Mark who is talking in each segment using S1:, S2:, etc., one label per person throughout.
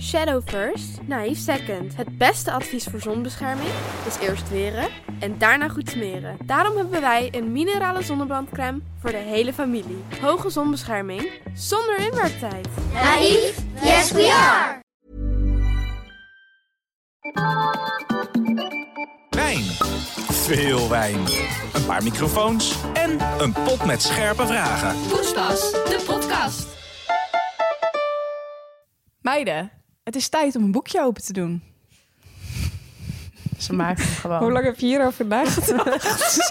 S1: Shadow first, naïef second. Het beste advies voor zonbescherming is eerst weren en daarna goed smeren. Daarom hebben wij een minerale zonnebrandcrème voor de hele familie. Hoge zonbescherming zonder inwerktijd.
S2: Naïef? Yes, we are!
S3: Wijn. Veel wijn. Een paar microfoons en een pot met scherpe vragen.
S4: Poespas, de podcast.
S5: Meiden, het is tijd om een boekje open te doen. Ze maakt hem gewoon.
S6: Hoe lang heb je hierover nagedacht?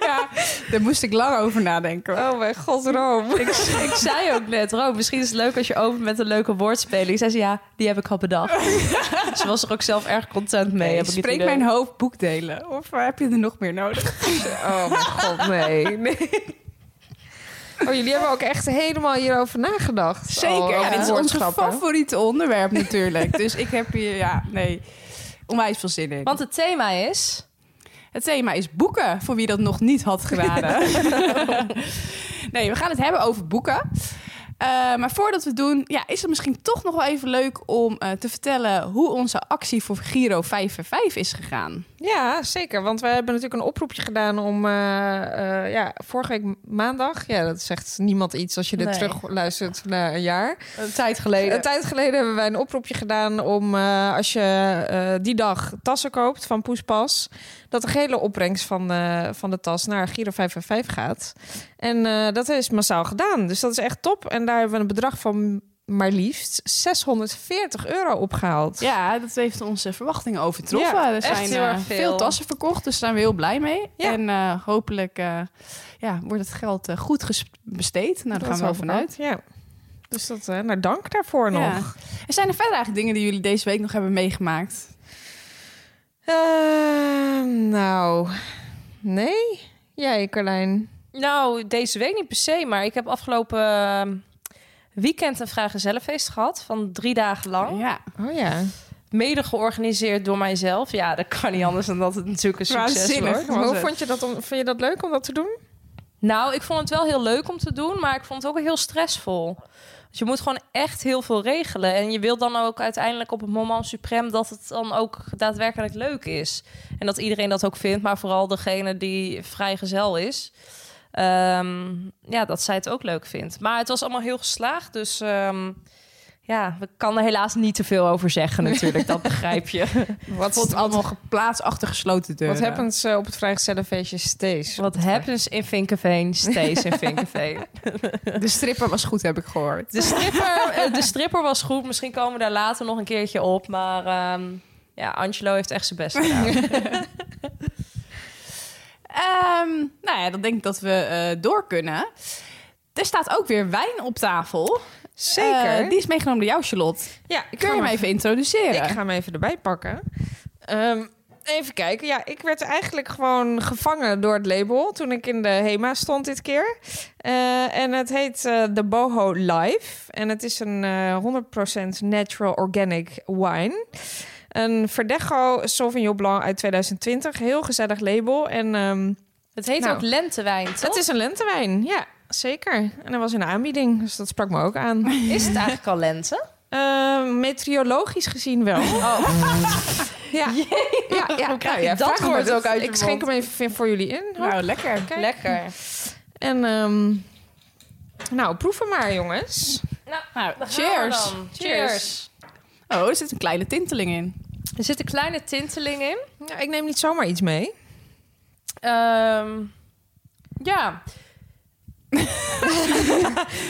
S5: Ja, daar moest ik lang over nadenken. hoor.
S6: oh mijn god, Rome.
S4: Ik, ik zei ook net, Ro, misschien is het leuk als je opent met een leuke woordspeling. Zei ze, ja, die heb ik al bedacht. ze was er ook zelf erg content mee. heb ik het
S5: Spreek
S4: idee.
S5: mijn hoofd boekdelen. Of eh, heb je er nog meer nodig?
S6: Oh mijn god, nee. nee. Oh, jullie hebben ook echt helemaal hierover nagedacht. Oh,
S5: ja, dit is ons
S6: woordschappen.
S5: favoriete onderwerp natuurlijk. dus ik heb hier, ja, nee, onwijs veel zin in.
S4: Want het thema is...
S5: Het thema is boeken, voor wie dat nog niet had geraden. nee, we gaan het hebben over boeken. Eh, maar voordat we het doen, ja, is het misschien toch nog wel even leuk om eh, te vertellen hoe onze actie voor Giro 555 is gegaan.
S6: Ja, zeker. Want wij hebben natuurlijk een oproepje gedaan om... eh, eh, ja, vorige week maandag. Ja, dat zegt niemand iets als je dit
S4: Nee.
S6: terug luistert na een jaar.
S4: Een tijd geleden.
S6: Een tijd geleden hebben wij een oproepje gedaan om eh, als je eh, die dag tassen koopt van Poespas, dat de gehele opbrengst van, eh, van de tas naar Giro 555 gaat. En eh, dat is massaal gedaan. Dus dat is echt top. En daar hebben we een bedrag van maar liefst 640 euro opgehaald.
S5: Ja, dat heeft onze verwachtingen overtroffen.
S6: Ja,
S5: er
S6: echt
S5: zijn
S6: heel
S5: eh,
S6: erg
S5: veel.
S6: veel.
S5: tassen verkocht, dus daar zijn we heel blij mee.
S6: Ja.
S5: En eh, hopelijk eh, ja, wordt het geld eh, goed ges- besteed. Nou, daar gaan we wel
S6: hoop ik ook.
S5: vanuit.
S6: Ja. Dus dat, eh nou, dank daarvoor
S5: Ja.
S6: nog.
S5: Er zijn er verder eigenlijk dingen die jullie deze week nog hebben meegemaakt.
S6: Ehm, nou, nee? Jij, Carlijn?
S4: Nou, deze week niet per se, maar ik heb afgelopen eh, weekend een vrijgezellenfeest gehad van drie dagen lang.
S5: Ja,
S6: Oh ja.
S4: Mede georganiseerd door mijzelf. Ja, dat kan niet anders dan dat het natuurlijk een succes
S5: Waanzinnig.
S4: wordt.
S5: was
S6: Hoe
S5: het.
S6: vond je dat, om, vond je dat leuk om dat te doen?
S4: Nou, ik vond het wel heel leuk om te doen, maar ik vond het ook heel stressvol. Dus je moet gewoon echt heel veel regelen. En je wilt dan ook uiteindelijk op het moment suprem dat het dan ook daadwerkelijk leuk is. En dat iedereen dat ook vindt, maar vooral degene die vrijgezel is. Ehm, ja, dat zij het ook leuk vindt. Maar het was allemaal heel geslaagd, dus ehm, ja, we kan er helaas niet te veel over zeggen natuurlijk. Dat begrijp je.
S6: Wat,
S5: wordt allemaal geplaatst achter gesloten deuren.
S6: wat happens eh, op het vrijgezellenfeestje steeds?
S4: Wat happens in Vinkenveen, stays in Vinkenveen.
S5: De stripper was goed, heb ik gehoord.
S4: De stripper, eh, de stripper was goed. Misschien komen we daar later nog een keertje op. Maar ehm, ja, Angelo heeft echt zijn best gedaan.
S5: Ehm, nou ja, dan denk ik dat we eh, door kunnen. Er staat ook weer wijn op tafel.
S6: Zeker.
S5: Eh, die is meegenomen door jou, Charlotte.
S6: ja, ik
S5: Kun je hem even introduceren?
S6: Ik ga hem even erbij pakken. Ehm, even kijken. Ja, ik werd eigenlijk gewoon gevangen door het label toen ik in de HEMA stond dit keer. Eh, en het heet eh, de Boho Live. En het is een eh 100% natural organic wine. Een Verdecho Sauvignon Blanc uit 2020. Heel gezellig label. En ehm,
S4: Het heet
S6: Nou.
S4: ook lentewijn, toch?
S6: het is een lentewijn. Ja, zeker. En dat was in de aanbieding. Dus dat sprak me ook aan.
S4: Is het eigenlijk al lente?
S6: Eh, meteorologisch gezien wel. ja. ja, ja,
S4: Oh. Hoe krijg
S6: Nou
S4: je dat
S6: vraag me
S4: woord
S6: dit.
S4: ook uit je
S6: Ik schenk hem even voor jullie in. Hop.
S5: Nou, lekker.
S6: Kijk.
S4: Lekker.
S6: En ehm, nou, proef hem maar, jongens.
S5: Nou,
S4: Cheers.
S5: cheers. Oh, er zit een kleine tinteling in.
S4: Er zit een kleine tinteling in.
S6: Ja, ik neem niet zomaar iets mee.
S4: Ehm, ja.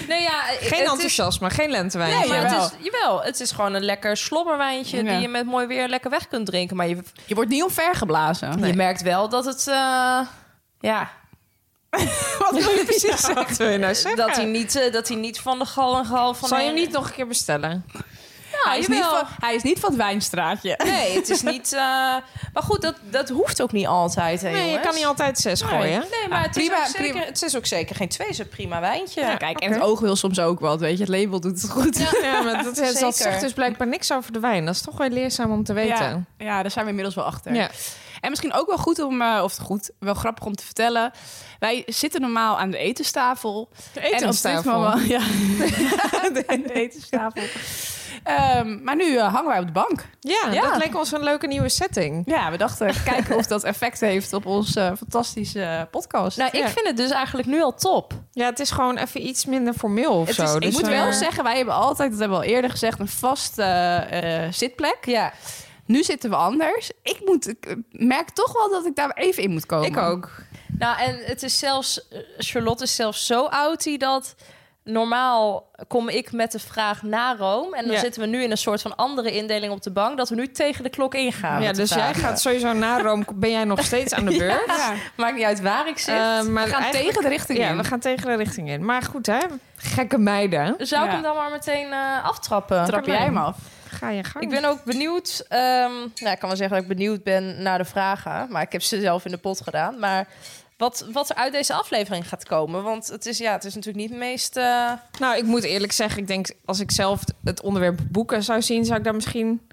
S4: nee, ja.
S6: Geen
S4: het is-
S6: enthousiasme, geen lentewijn.
S4: Nee, maar
S5: jawel.
S4: het is, jawel, het is gewoon een lekker slobberwijntje
S5: Ja.
S4: die je met mooi weer lekker weg kunt drinken. Maar je
S5: Je wordt niet omvergeblazen.
S4: Je merkt wel dat het. eh, ja.
S6: Wat wil je precies zeggen? Wat wil je nou zeggen?
S4: Dat hij, niet, eh, dat hij niet van de gal en gal van.
S6: Zal je
S4: de-
S6: hem niet nog een keer bestellen?
S4: Ja,
S5: hij, is niet van, hij is niet van het wijnstraatje.
S4: Nee, het is niet. eh, maar goed, dat, dat hoeft ook niet altijd. Hè,
S6: Nee, je
S4: jongens?
S6: kan niet altijd zes gooien.
S4: Nee, maar het,
S5: prima,
S4: is ook
S5: prima.
S4: zeker, het is ook zeker geen twee, zo prima wijntje.
S5: Ja, kijk, en het oog wil soms ook wat, weet je. Het label doet het goed.
S6: Ja, maar dat, dat
S4: Zeker.
S6: zegt dus blijkbaar niks over de wijn. Dat is toch wel leerzaam om te weten.
S5: ja, daar zijn we inmiddels wel achter.
S6: Ja.
S5: En misschien ook wel goed om, eh, of goed, wel grappig om te vertellen. Wij zitten normaal aan de etenstafel.
S6: De
S5: En op dit moment, ja, de etenstafel. Ehm, maar nu eh, hangen wij op de bank.
S6: Ja,
S5: Ja.
S6: dat leek ons een leuke nieuwe setting.
S5: Ja, we dachten kijken of dat effect heeft op onze fantastische eh, podcast.
S4: Nou, ik
S5: Ja.
S4: vind het dus eigenlijk nu al top.
S6: Ja, het is gewoon even iets minder formeel of
S5: Het
S6: zo.
S5: is, ik
S6: Dus
S5: moet
S6: dan-
S5: wel zeggen, wij hebben altijd, dat hebben we al eerder gezegd, een vaste eh, eh, zitplek.
S4: Ja.
S5: Nu zitten we anders. Ik, moet, ik eh, merk toch wel dat ik daar even in moet komen.
S6: Ik ook.
S4: Nou, en het is zelfs, eh, Charlotte is zelfs zo oud die dat. Normaal kom ik met de vraag naar Rome. En dan
S6: Ja.
S4: zitten we nu in een soort van andere indeling op de bank. Dat we nu tegen de klok ingaan.
S6: Ja,
S4: met de
S6: dus jij
S4: vragen.
S6: gaat sowieso naar Rome. Ben jij nog steeds aan de beurt?
S5: Ja.
S4: Maakt niet uit waar ik zit.
S6: Eh, maar
S5: We gaan
S6: eigenlijk-
S5: tegen de richting
S6: Ja,
S5: in.
S6: we gaan tegen de richting in. Maar goed, hè? Gekke meiden.
S4: Zou ik
S5: ja.
S4: hem dan maar meteen eh, aftrappen?
S5: Trap jij hem af.
S6: Ga je gang.
S4: Ik ben ook benieuwd. ehm, nou, ik kan wel zeggen dat ik benieuwd ben naar de vragen. Maar ik heb ze zelf in de pot gedaan. Maar wat, wat er uit deze aflevering gaat komen. Want het is, ja, het is natuurlijk niet het meest. eh,
S6: Nou, ik moet eerlijk zeggen, ik denk als ik zelf het onderwerp boeken zou zien, zou ik daar misschien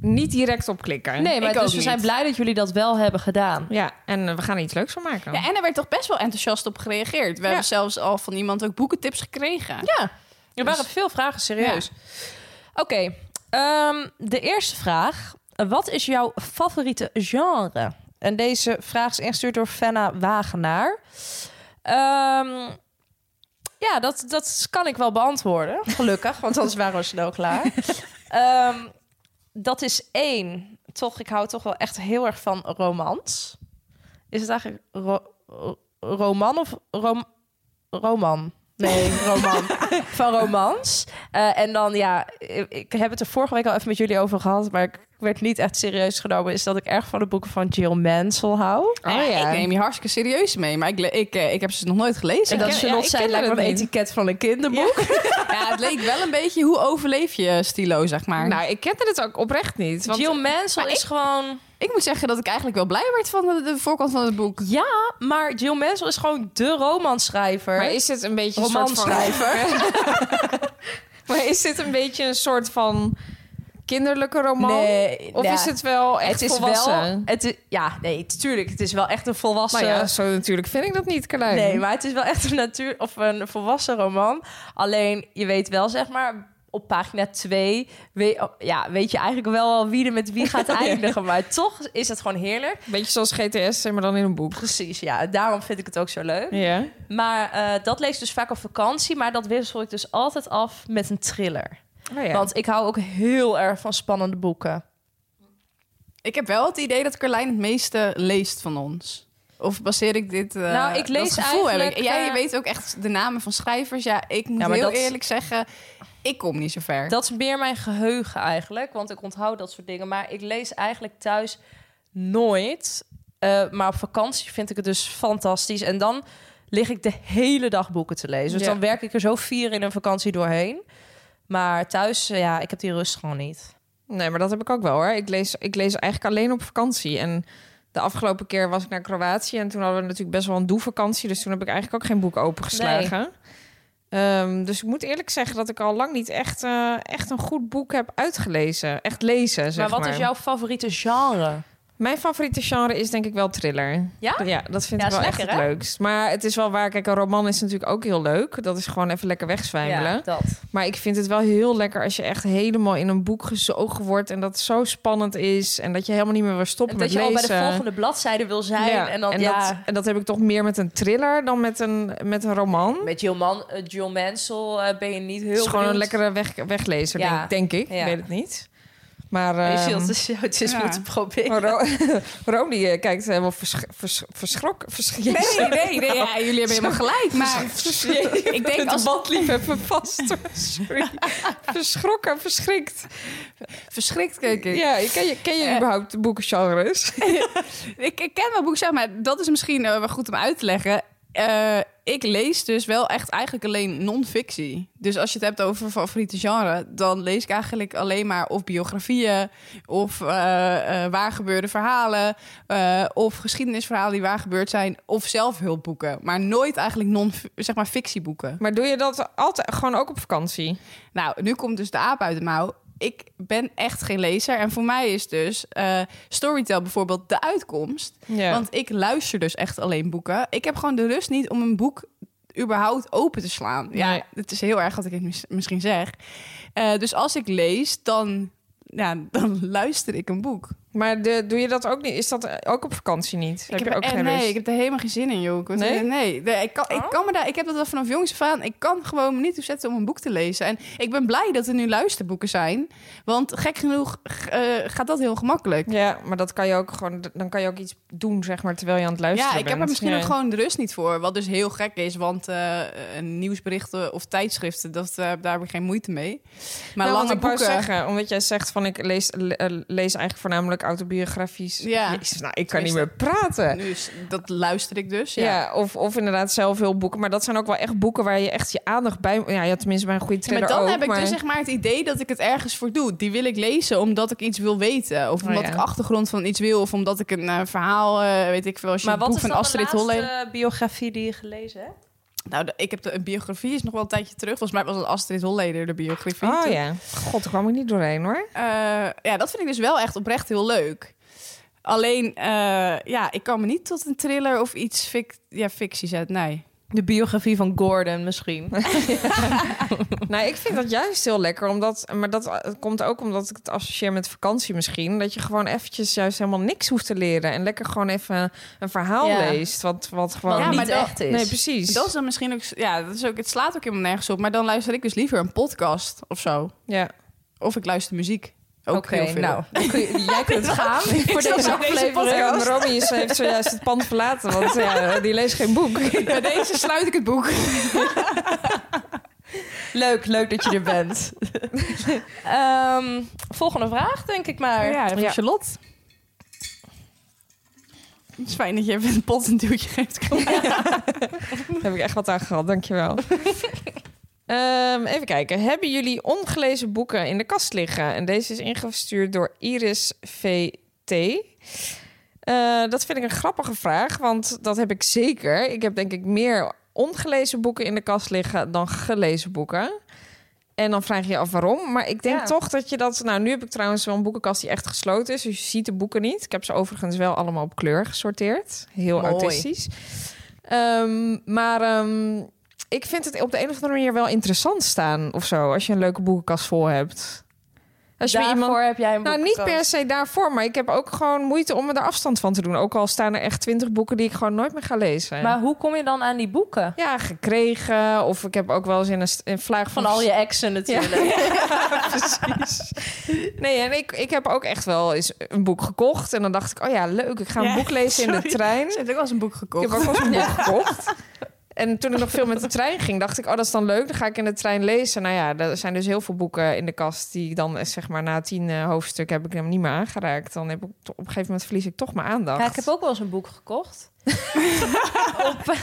S6: niet direct op klikken.
S4: nee, maar
S6: ik
S4: dus
S6: ook
S4: we
S6: niet.
S4: zijn blij dat jullie dat wel hebben gedaan.
S6: Ja, en eh, we gaan er iets leuks van maken.
S5: Ja, en er werd toch best wel enthousiast op gereageerd. We hebben zelfs al van iemand ook boekentips gekregen.
S4: Ja, er waren veel vragen, serieus. Oké, ehm, de eerste vraag. Wat is jouw favoriete genre? En deze vraag is ingestuurd door Fenna Wagenaar. Ehm, ja, dat, dat kan ik wel beantwoorden, gelukkig. want anders waren we snel klaar. Ehm, dat is één. Toch, ik hou toch wel echt heel erg van romans. Is het eigenlijk ro- ro- roman of rom roman? Nee, roman. van romans. Eh, en dan, ja, ik, ik heb het er vorige week al even met jullie over gehad, maar ik werd niet echt serieus genomen. Is dat ik erg van de boeken van Jill Mansell hou.
S6: Oh,
S5: Nou ja, Ik neem je hartstikke serieus mee, maar ik, le- ik, eh, ik heb ze nog nooit gelezen.
S4: En dat
S6: ja, ik
S4: Charlotte zei,
S6: ken
S4: lijkt me
S6: het
S4: een
S6: niet.
S4: etiket van een kinderboek.
S5: ja, het leek wel een beetje hoe overleef je stilo, zeg maar.
S6: Nou, ik kende het ook oprecht niet. Want
S4: Jill Mansell
S5: Maar
S4: is gewoon...
S5: ik moet zeggen dat ik eigenlijk wel blij werd van de, de voorkant van het boek.
S4: Ja, maar Jill Mansell is gewoon de romanschrijver.
S6: maar is dit een beetje een soort van...
S4: romanschrijver.
S6: Maar is dit een beetje een soort van kinderlijke roman?
S4: Nee,
S6: Of
S4: ja.
S6: is het wel echt
S4: het is
S6: volwassen?
S4: wel... Het is, ja, nee, tuurlijk. Het is wel echt een volwassen...
S6: Nou ja, zo natuurlijk vind ik dat niet, Carlijn.
S4: eh, Nee, maar het is wel echt een natuur of een volwassen roman. Alleen je weet wel, zeg maar, op pagina 2 weet, ja, weet je eigenlijk wel al wie er met wie gaat eindigen. Maar toch is het gewoon heerlijk.
S6: Beetje zoals GTS, maar dan in een boek.
S4: Precies, ja. Daarom vind ik het ook zo leuk.
S6: Ja.
S4: Maar eh, dat lees ik dus vaak op vakantie. Maar dat wissel ik dus altijd af met een thriller.
S6: Oh
S4: Want ik hou ook heel erg van spannende boeken.
S5: Ik heb wel het idee dat Carlijn het meeste leest van ons. Of baseer ik dit? eh,
S4: Nou, ik lees
S5: dat gevoel heb ik.
S4: eigenlijk,
S5: Jij
S4: eh,
S5: weet ook echt de namen van schrijvers. Ja, ik moet
S4: Ja, maar
S5: heel
S4: dat-
S5: eerlijk zeggen, ik kom niet zo ver.
S4: Dat is meer mijn geheugen eigenlijk, want ik onthoud dat soort dingen. Maar ik lees eigenlijk thuis nooit. Eh, maar op vakantie vind ik het dus fantastisch. En dan lig ik de hele dag boeken te lezen. Dus
S6: Ja.
S4: dan werk ik er zo vier in een vakantie doorheen. Maar thuis, eh, ja, ik heb die rust gewoon niet.
S6: Nee, maar dat heb ik ook wel hoor. Ik lees, ik lees eigenlijk alleen op vakantie. En de afgelopen keer was ik naar Kroatië en toen hadden we natuurlijk best wel een doe-vakantie. Dus toen heb ik eigenlijk ook geen boek opengeslagen. Ehm, dus ik moet eerlijk zeggen dat ik al lang niet echt, eh, echt een goed boek heb uitgelezen. Echt lezen, zeg
S4: maar
S6: maar.
S4: wat is jouw favoriete genre?
S6: Mijn favoriete genre is denk ik wel thriller.
S4: Ja?
S6: Ja, dat vind
S4: Ja,
S6: ik wel
S4: is
S6: echt
S4: lekker,
S6: het
S4: hè?
S6: leukst. Maar het is wel waar, kijk, een roman is natuurlijk ook heel leuk. Dat is gewoon even lekker wegzwijmelen.
S4: Ja, dat.
S6: Maar ik vind het wel heel lekker als je echt helemaal in een boek gezogen wordt... en dat het zo spannend is en dat je helemaal niet meer wil stoppen
S4: En dat
S6: met
S4: je al
S6: lezen.
S4: bij de volgende bladzijde wil zijn.
S6: Ja,
S4: En dan, ja,
S6: dat, en dat heb ik toch meer met een thriller dan met een, met een roman.
S4: met Jill, Man, eh, Jill Mansell eh, ben je niet heel
S6: het is gewoon een
S4: benieuwd.
S6: lekkere weg, weglezer,
S4: Ja.
S6: denk, denk ik.
S4: Ja.
S6: Ik weet het niet. Maar...
S4: Je
S6: ehm,
S4: zult het- je zult het eens
S5: Ja.
S4: moeten proberen.
S6: maar Ro- Rome die eh, kijkt helemaal vers, vers, verschrok. Vers,
S5: Nee, nee, nee. ja, jullie hebben helemaal gelijk. Maar ik denk als...
S6: band liep even vast. Sorry. Verschrokken, verschrikt.
S5: Verschrikt keek ik.
S6: Ja, ken je, ken je
S5: Eh.
S6: überhaupt de boekengenres?
S5: ik. Ik ken wel boeken, zeg maar dat is misschien eh, wel goed om uit te leggen. Eh, ik lees dus wel echt eigenlijk alleen non-fictie. Dus als je het hebt over favoriete genre... dan lees ik eigenlijk alleen maar of biografieën... of eh eh, waar gebeurde verhalen... eh, of geschiedenisverhalen die waar gebeurd zijn... of zelfhulpboeken. Maar nooit eigenlijk non, zeg maar fictieboeken.
S6: Maar doe je dat altijd gewoon ook op vakantie?
S5: Nou, nu komt dus de aap uit de mouw. ik ben echt geen lezer. En voor mij is dus eh Storytel bijvoorbeeld de uitkomst.
S6: Ja.
S5: Want ik luister dus echt alleen boeken. Ik heb gewoon de rust niet om een boek überhaupt open te slaan.
S6: Nee.
S5: Ja, het is heel erg wat ik het mis- misschien zeg. Eh, dus als ik lees, dan, ja, dan luister ik een boek.
S6: Maar de, doe je dat ook niet? Is dat eh, ook op vakantie niet? heb je ook
S5: er- eh,
S6: geen
S5: nee,
S6: rust?
S5: ik heb er helemaal geen zin in, joh. Ik word-
S6: Nee? Oh.
S5: nee, nee, ik, kan, ik, kan me daar, ik heb dat al vanaf jongs af aan. Ik kan gewoon me niet toezetten om een boek te lezen. En ik ben blij dat er nu luisterboeken zijn. Want gek genoeg g- eh, gaat dat heel gemakkelijk.
S6: Ja, maar dat kan je ook gewoon. Dan kan je ook iets doen, zeg maar, terwijl je aan het
S5: Ja,
S6: luisteren
S5: ik
S6: bent.
S5: heb er misschien
S6: Ja.
S5: ook gewoon de rust niet voor. Wat dus heel gek is, want eh, eh, nieuwsberichten of tijdschriften, dat, eh, daar heb ik geen moeite mee. Maar
S6: Nou, want
S5: lange
S6: ik wou
S5: boeken...
S6: zeggen, omdat jij zegt van ik lees, le- eh, lees eigenlijk voornamelijk autobiografisch.
S5: Ja.
S6: Jezus, nou, ik kan niet meer praten.
S5: Nu is- dat luister ik dus,
S6: Ja,
S5: ja.
S6: of, of inderdaad zelf heel boeken. Maar dat zijn ook wel echt boeken waar je echt je aandacht bij... Ja, ja tenminste bij een goede
S5: Ja,
S6: thriller
S5: maar dan
S6: ook,
S5: heb ik
S6: maar-
S5: dus zeg maar het idee dat ik het ergens voor doe. Die wil ik lezen omdat ik iets wil weten. Of
S6: Oh,
S5: omdat
S6: ja.
S5: ik achtergrond van iets wil. Of omdat ik een eh, verhaal, eh, weet ik veel, als je
S4: Maar
S5: een boek
S4: wat is
S5: van
S4: dan
S5: Astrid
S4: de
S5: Holle...
S4: laatste biografie die je gelezen hebt?
S5: Nou, de- ik heb de, een biografie, is nog wel een tijdje terug. Volgens mij was het Astrid Holleder de biografie.
S6: Oh
S5: Toen-
S6: ja. God, daar kwam ik niet doorheen hoor.
S5: Eh, ja, dat vind ik dus wel echt oprecht heel leuk. Alleen, eh, ja, ik kan me niet tot een thriller of iets fic ja, fictie zetten. Nee.
S4: De biografie van Gordon misschien.
S6: nou, ik vind dat juist heel lekker. Omdat, maar dat eh, komt ook omdat ik het associeer met vakantie misschien. Dat je gewoon eventjes juist helemaal niks hoeft te leren. En lekker gewoon even een verhaal
S4: Ja.
S6: leest. Wat, wat gewoon...
S4: Wat
S5: Ja,
S4: niet
S5: maar dat-
S4: echt is.
S6: Nee, precies.
S5: Dat is dan misschien ook, ja, dat is ook, het slaat ook helemaal nergens op. Maar dan luister ik dus liever een podcast of zo.
S6: Ja.
S5: Of ik luister muziek. Ook
S4: Oké,
S5: heel veel.
S4: nou, dan kun je- jij kunt gaan
S5: snap
S4: voor deze
S5: zo deze
S4: aflevering.
S6: Ja, want Romy is, heeft zojuist het pand verlaten. Want ja, die leest geen boek.
S5: Bij deze sluit ik het boek.
S4: Leuk, leuk dat je er bent. Ehm, volgende vraag, denk ik maar.
S5: van
S6: Ja.
S5: Charlotte. Het is fijn dat je even een pot een duwtje geeft.
S6: Daar heb ik echt wat aan gehad, dankjewel. Ehm even kijken. Hebben jullie ongelezen boeken in de kast liggen? En deze is ingestuurd door Iris VT. Eh, dat vind ik een grappige vraag, want dat heb ik zeker. Ik heb denk ik meer ongelezen boeken in de kast liggen dan gelezen boeken. En dan vraag je je af waarom. Maar ik denk
S4: Ja.
S6: toch dat je dat... Nou, nu heb ik trouwens wel een boekenkast die echt gesloten is. Dus je ziet de boeken niet. Ik heb ze overigens wel allemaal op kleur gesorteerd. Heel
S4: Mooi.
S6: autistisch. Ehm, maar ehm, ik vind het op de een of andere manier wel interessant staan of zo. Als je een leuke boekenkast vol hebt. Als je bij
S4: Daarvoor
S6: iemand...
S4: heb jij een
S6: Nou, niet per se daarvoor, maar ik heb ook gewoon moeite om me er afstand van te doen. Ook al staan er echt twintig boeken die ik gewoon nooit meer ga lezen.
S4: Maar hoe kom je dan aan die boeken?
S6: Ja, gekregen. Of ik heb ook wel eens in een, st- een vlaag
S4: Van al je exen natuurlijk.
S6: precies. Nee, en ik, ik heb ook echt wel eens een boek gekocht. En dan dacht ik, oh ja, leuk, ik ga een
S5: Ja,
S6: boek lezen in de
S5: sorry.
S6: trein.
S5: Ze heeft ook wel eens een boek
S6: Ik heb
S5: gekocht.
S6: ook wel eens een boek gekocht. En toen ik nog veel met de trein ging, dacht ik, oh, dat is dan leuk. Dan ga ik in de trein lezen. Nou ja, er zijn dus heel veel boeken in de kast die ik dan, eh, zeg maar, na tien eh, hoofdstukken heb ik hem niet meer aangeraakt. Dan heb ik to- op een gegeven moment verlies ik toch mijn aandacht.
S4: Ja, ik heb ook wel eens een boek gekocht. op,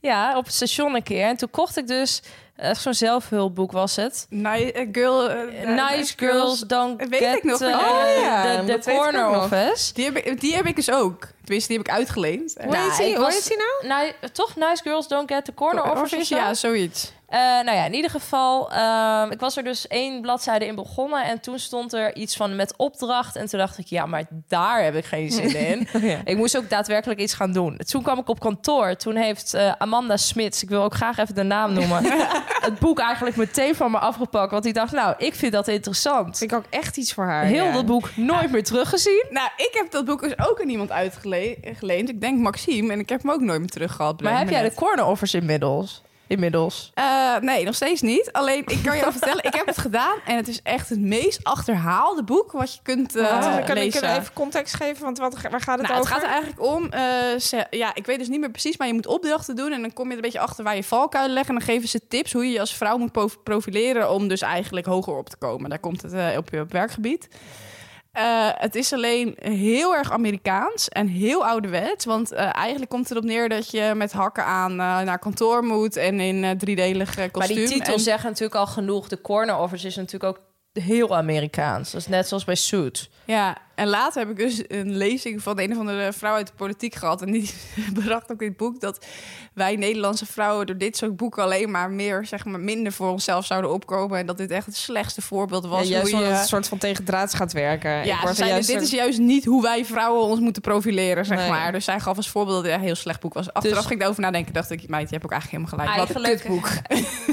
S4: ja, op het station een keer. En toen kocht ik dus eh, zo'n zelfhulpboek was het.
S5: Nice eh, girl. eh,
S4: nice Girls Don't
S5: Weet
S4: Get
S5: ik nog.
S4: eh,
S6: Oh ja,
S4: the- the,
S6: dat weet ik ook
S4: Corner
S6: nog.
S4: of Us.
S5: Die heb, ik, die heb ik dus ook. Tenminste, die heb ik uitgeleend.
S6: Hoe heet
S4: Nou,
S6: die?
S4: ik
S6: Hoe
S4: was-
S6: heet die nou?
S4: Nou, toch Nice Girls Don't Get the Corner of Us? is dat?
S5: Ja, zoiets.
S4: Eh, nou ja, in ieder geval, ehm, ik was er dus één bladzijde in begonnen. En toen stond er iets van met opdracht. En toen dacht ik, ja, maar daar heb ik geen zin in.
S6: Ja.
S4: Ik moest ook daadwerkelijk iets gaan doen. Toen kwam ik op kantoor. Toen heeft eh, Amanda Smits, ik wil ook graag even de naam noemen, het boek eigenlijk meteen van me afgepakt. Want die dacht, nou, ik vind dat interessant.
S6: Vind ik ook echt iets voor haar.
S4: Heel
S6: ja.
S4: dat boek nooit meer teruggezien.
S5: Nou, ik heb dat boek dus ook aan iemand uitgeleend. Ik denk Maxime. En ik heb hem ook nooit meer terug gehad.
S4: Maar heb jij de
S5: het?
S4: corner offers inmiddels? Inmiddels.
S5: Eh, nee, nog steeds niet. Alleen, ik kan je al vertellen, ik heb het gedaan. En het is echt het meest achterhaalde boek wat je
S4: Oh.
S5: kunt eh,
S6: Wat- Oh, kan ik
S5: lezen.
S6: even context geven? Want wat, waar gaat het
S5: Nou, het
S6: over?
S5: gaat er eigenlijk om, eh, ze- ja, ik weet dus niet meer precies, maar je moet opdrachten doen en dan kom je er een beetje achter waar je valkuilen leggen. En dan geven ze tips hoe je je als vrouw moet po- profileren om dus eigenlijk hoger op te komen. Daar komt het eh, op je op werkgebied. Eh, het is alleen heel erg Amerikaans en heel ouderwets. Want eh, eigenlijk komt het erop neer dat je met hakken aan eh, naar kantoor moet en in eh, driedelig eh,
S4: Maar
S5: kostuum.
S4: die titel
S5: En-
S4: zegt natuurlijk al genoeg. De corner offers is natuurlijk ook heel Amerikaans. Dat is net zoals bij Suit.
S5: Ja, En later heb ik dus een lezing van een of andere vrouw uit de politiek gehad. En die bracht ook dit boek dat wij Nederlandse vrouwen door dit soort boeken alleen maar meer, zeg maar, minder voor onszelf zouden opkomen. En dat dit echt het slechtste voorbeeld was.
S6: Ja,
S5: hoe
S6: juist
S5: je,
S6: omdat het een soort van tegendraads gaat werken. Ik
S5: ja,
S6: word
S5: ze
S6: er
S5: zeiden,
S6: juist
S5: dit
S6: een-
S5: is juist niet hoe wij vrouwen ons moeten profileren, zeg
S6: Nee.
S5: maar. Dus zij gaf als voorbeeld dat het een heel slecht boek was. Achteraf
S4: Dus-
S5: ging ik erover nadenken, dacht ik, meid, je hebt ook eigenlijk helemaal gelijk. Wat
S4: Eigenlijk,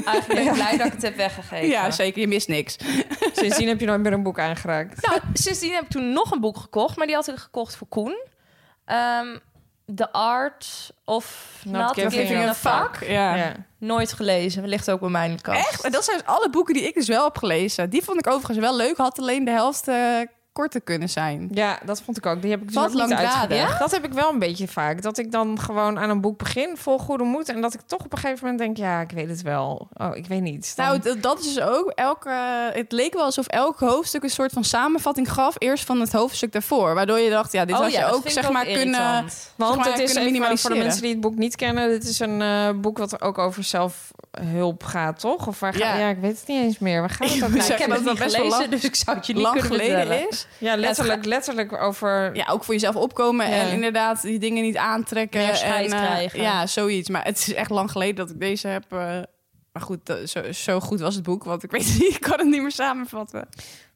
S4: eigenlijk ben ik blij dat ik het heb weggegeven.
S5: een- ja, zeker, je mist niks.
S6: Sindsdien heb je nooit meer een boek aangeraakt.
S4: Nou, sindsdien heb ik toen nog een boek gekocht, maar die had ik gekocht voor Koen. Ehm The Art of Not,
S6: Giving
S4: Giving,
S6: a
S4: a Fuck.
S5: Ja.
S4: Nooit gelezen, ligt ook bij mij in de kast.
S5: Echt? En dat zijn dus alle boeken die ik dus wel heb gelezen. Die vond ik overigens wel leuk, had alleen de helft eh, korter kunnen zijn.
S6: Ja, dat vond ik ook. Die heb ik dus
S5: Wat
S6: ook niet
S5: langdradig.
S6: uitgelegd. Dat heb ik wel een beetje vaak. Dat ik dan gewoon aan een boek begin, vol goede moed. En dat ik toch op een gegeven moment denk, ja, ik weet het wel. Oh, ik weet niet. Dan-
S5: Nou, dat- dat is dus ook. Elke, het leek wel alsof elk hoofdstuk een soort van samenvatting gaf. Eerst van het hoofdstuk daarvoor. Waardoor je dacht, ja, dit had je
S4: Oh dat
S5: ook
S4: vind
S5: zeg
S4: ik ook
S5: maar kunnen.
S4: irritant.
S5: zeg
S6: want
S5: maar,
S6: het
S5: kunnen
S6: is even voor de
S5: minimaliseren.
S6: mensen die het boek niet kennen. Dit is een eh, boek wat ook over zelfhulp gaat, toch? Of waar gaat... Ja.
S5: Ja.
S6: ik weet het niet eens meer. Waar gaat het ook
S5: moet
S6: nou?
S4: Ik
S5: zeggen, dat
S4: heb het
S5: wel
S4: niet
S5: best wel
S4: gelezen,
S5: lang-
S4: dus ik zou het je niet
S5: Lang
S4: kunnen
S5: geleden
S4: vertellen.
S5: is.
S6: Ja, letterlijk, letterlijk over...
S5: Ja, ook voor jezelf opkomen
S6: Ja.
S5: en inderdaad die dingen niet aantrekken.
S4: Meer scheid
S5: en, eh,
S4: krijgen.
S5: Ja, zoiets. Maar het is echt lang geleden dat ik deze heb. eh, maar goed, dat- zo, zo goed was het boek, want ik weet het niet, ik kan het niet meer samenvatten.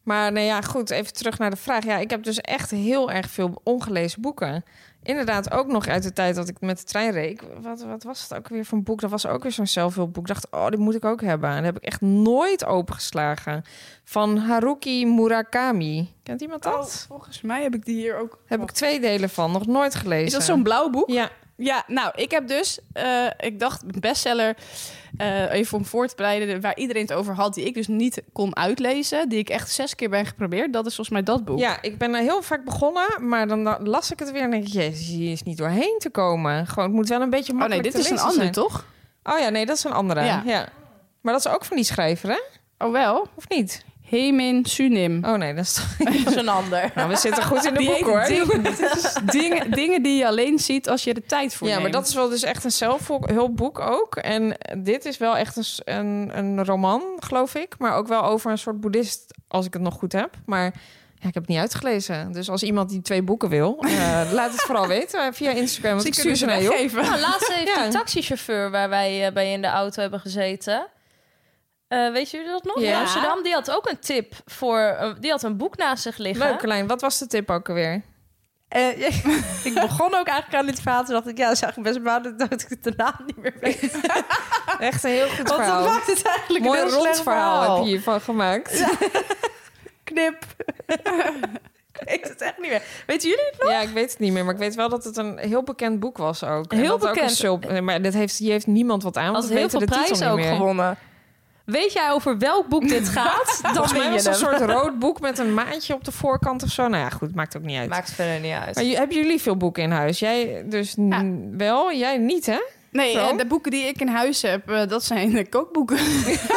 S6: Maar nou ja, goed, even terug naar de vraag. Ja, ik heb dus echt heel erg veel ongelezen boeken. Inderdaad, ook nog uit de tijd dat ik met de trein reed. Ik- Wat, wat was het ook weer voor een boek? Dat was ook weer zo'n zelfhulpboek. Ik dacht, oh, dit moet ik ook hebben. En dat heb ik echt nooit opengeslagen. Van Haruki Murakami. Kent iemand dat?
S5: Oh, volgens mij heb ik die hier ook.
S6: Heb ik twee delen van, nog nooit gelezen.
S5: Oh. Is dat zo'n blauw boek?
S6: Ja,
S5: Ja, nou, ik heb dus, eh, ik dacht, een bestseller, eh, even om voor te bereiden, de- waar iedereen het over had, die ik dus niet kon uitlezen, die ik echt zes keer ben geprobeerd, dat is volgens mij dat boek. Oh,
S6: ja, ik ben er heel vaak begonnen, maar dan da- las ik het weer en denk ik, jezus, hier is niet doorheen te komen. Gewoon, het moet wel een beetje
S5: oh nee,
S6: makkelijk
S5: dit
S6: te
S5: is een
S6: lezen
S5: ander,
S6: zijn.
S5: toch?
S6: Oh ja, nee, dat is een andere. Ja.
S5: Ja.
S6: Maar dat is ook van die schrijver, hè?
S5: Oh wel?
S6: Of niet?
S5: Hemin Sunim.
S6: Oh nee, dat is toch...
S4: Dat is een ander.
S6: Nou, we zitten goed in de
S5: Die
S6: boek, hoor.
S5: heet Dingen, dingen, dingen die je alleen ziet als je er tijd voor
S6: Ja, maar
S5: neemt.
S6: dat is wel dus echt een zelfhulpboek ook. En dit is wel echt een, s- een, een roman, geloof ik. Maar ook wel over een soort boeddhist, als ik het nog goed heb. Maar ja, ik heb het niet uitgelezen. Dus als iemand die twee boeken wil, eh, laat het vooral weten eh, via Instagram. Want ik stuur ze naar je op.
S5: geven.
S4: Nou, laatst heeft
S6: Ja.
S4: de taxichauffeur waar wij eh, bij in de auto hebben gezeten. eh, weet jullie dat nog?
S6: Ja.
S4: In Amsterdam, die had ook een tip voor. eh, die had een boek naast zich liggen.
S6: Leuk, Lijn. Wat was de tip ook alweer?
S4: Eh, ik begon ook eigenlijk aan dit verhaal. Toen dacht ik, ja, dat is eigenlijk best maar dat ik de naam niet meer weet.
S6: Echt Ah, een heel goed
S4: Want dat
S6: verhaal.
S4: maakt het eigenlijk
S6: Mooi
S4: een heel
S6: rond
S4: slecht
S6: verhaal, heb je hiervan gemaakt.
S4: Knip. ik weet het echt niet meer. Weten jullie het nog?
S6: Ja, ik weet het niet meer, maar ik weet wel dat het een heel bekend boek was ook. En
S4: Heel
S6: dat het Ook een
S4: bekend.
S6: sulp- nee, maar dit heeft, hier heeft niemand wat aan, want
S4: Als
S6: we
S4: heel
S6: weten
S4: veel
S6: de titel niet
S4: prijzen ook
S6: meer.
S4: gewonnen. Weet jij over welk boek dit gaat? Dan
S6: Volgens mij
S4: ben je
S6: was het
S4: hem.
S6: een soort rood boek met een maatje op de voorkant of zo. Nou ja, goed, maakt ook niet uit.
S4: Maakt verder niet uit.
S6: Maar j- hebben jullie veel boeken in huis? Jij dus n-
S5: Ja.
S6: wel, jij niet, hè?
S5: Nee,
S6: Zo?
S5: eh, de boeken die ik in huis heb, eh, dat zijn eh, kookboeken.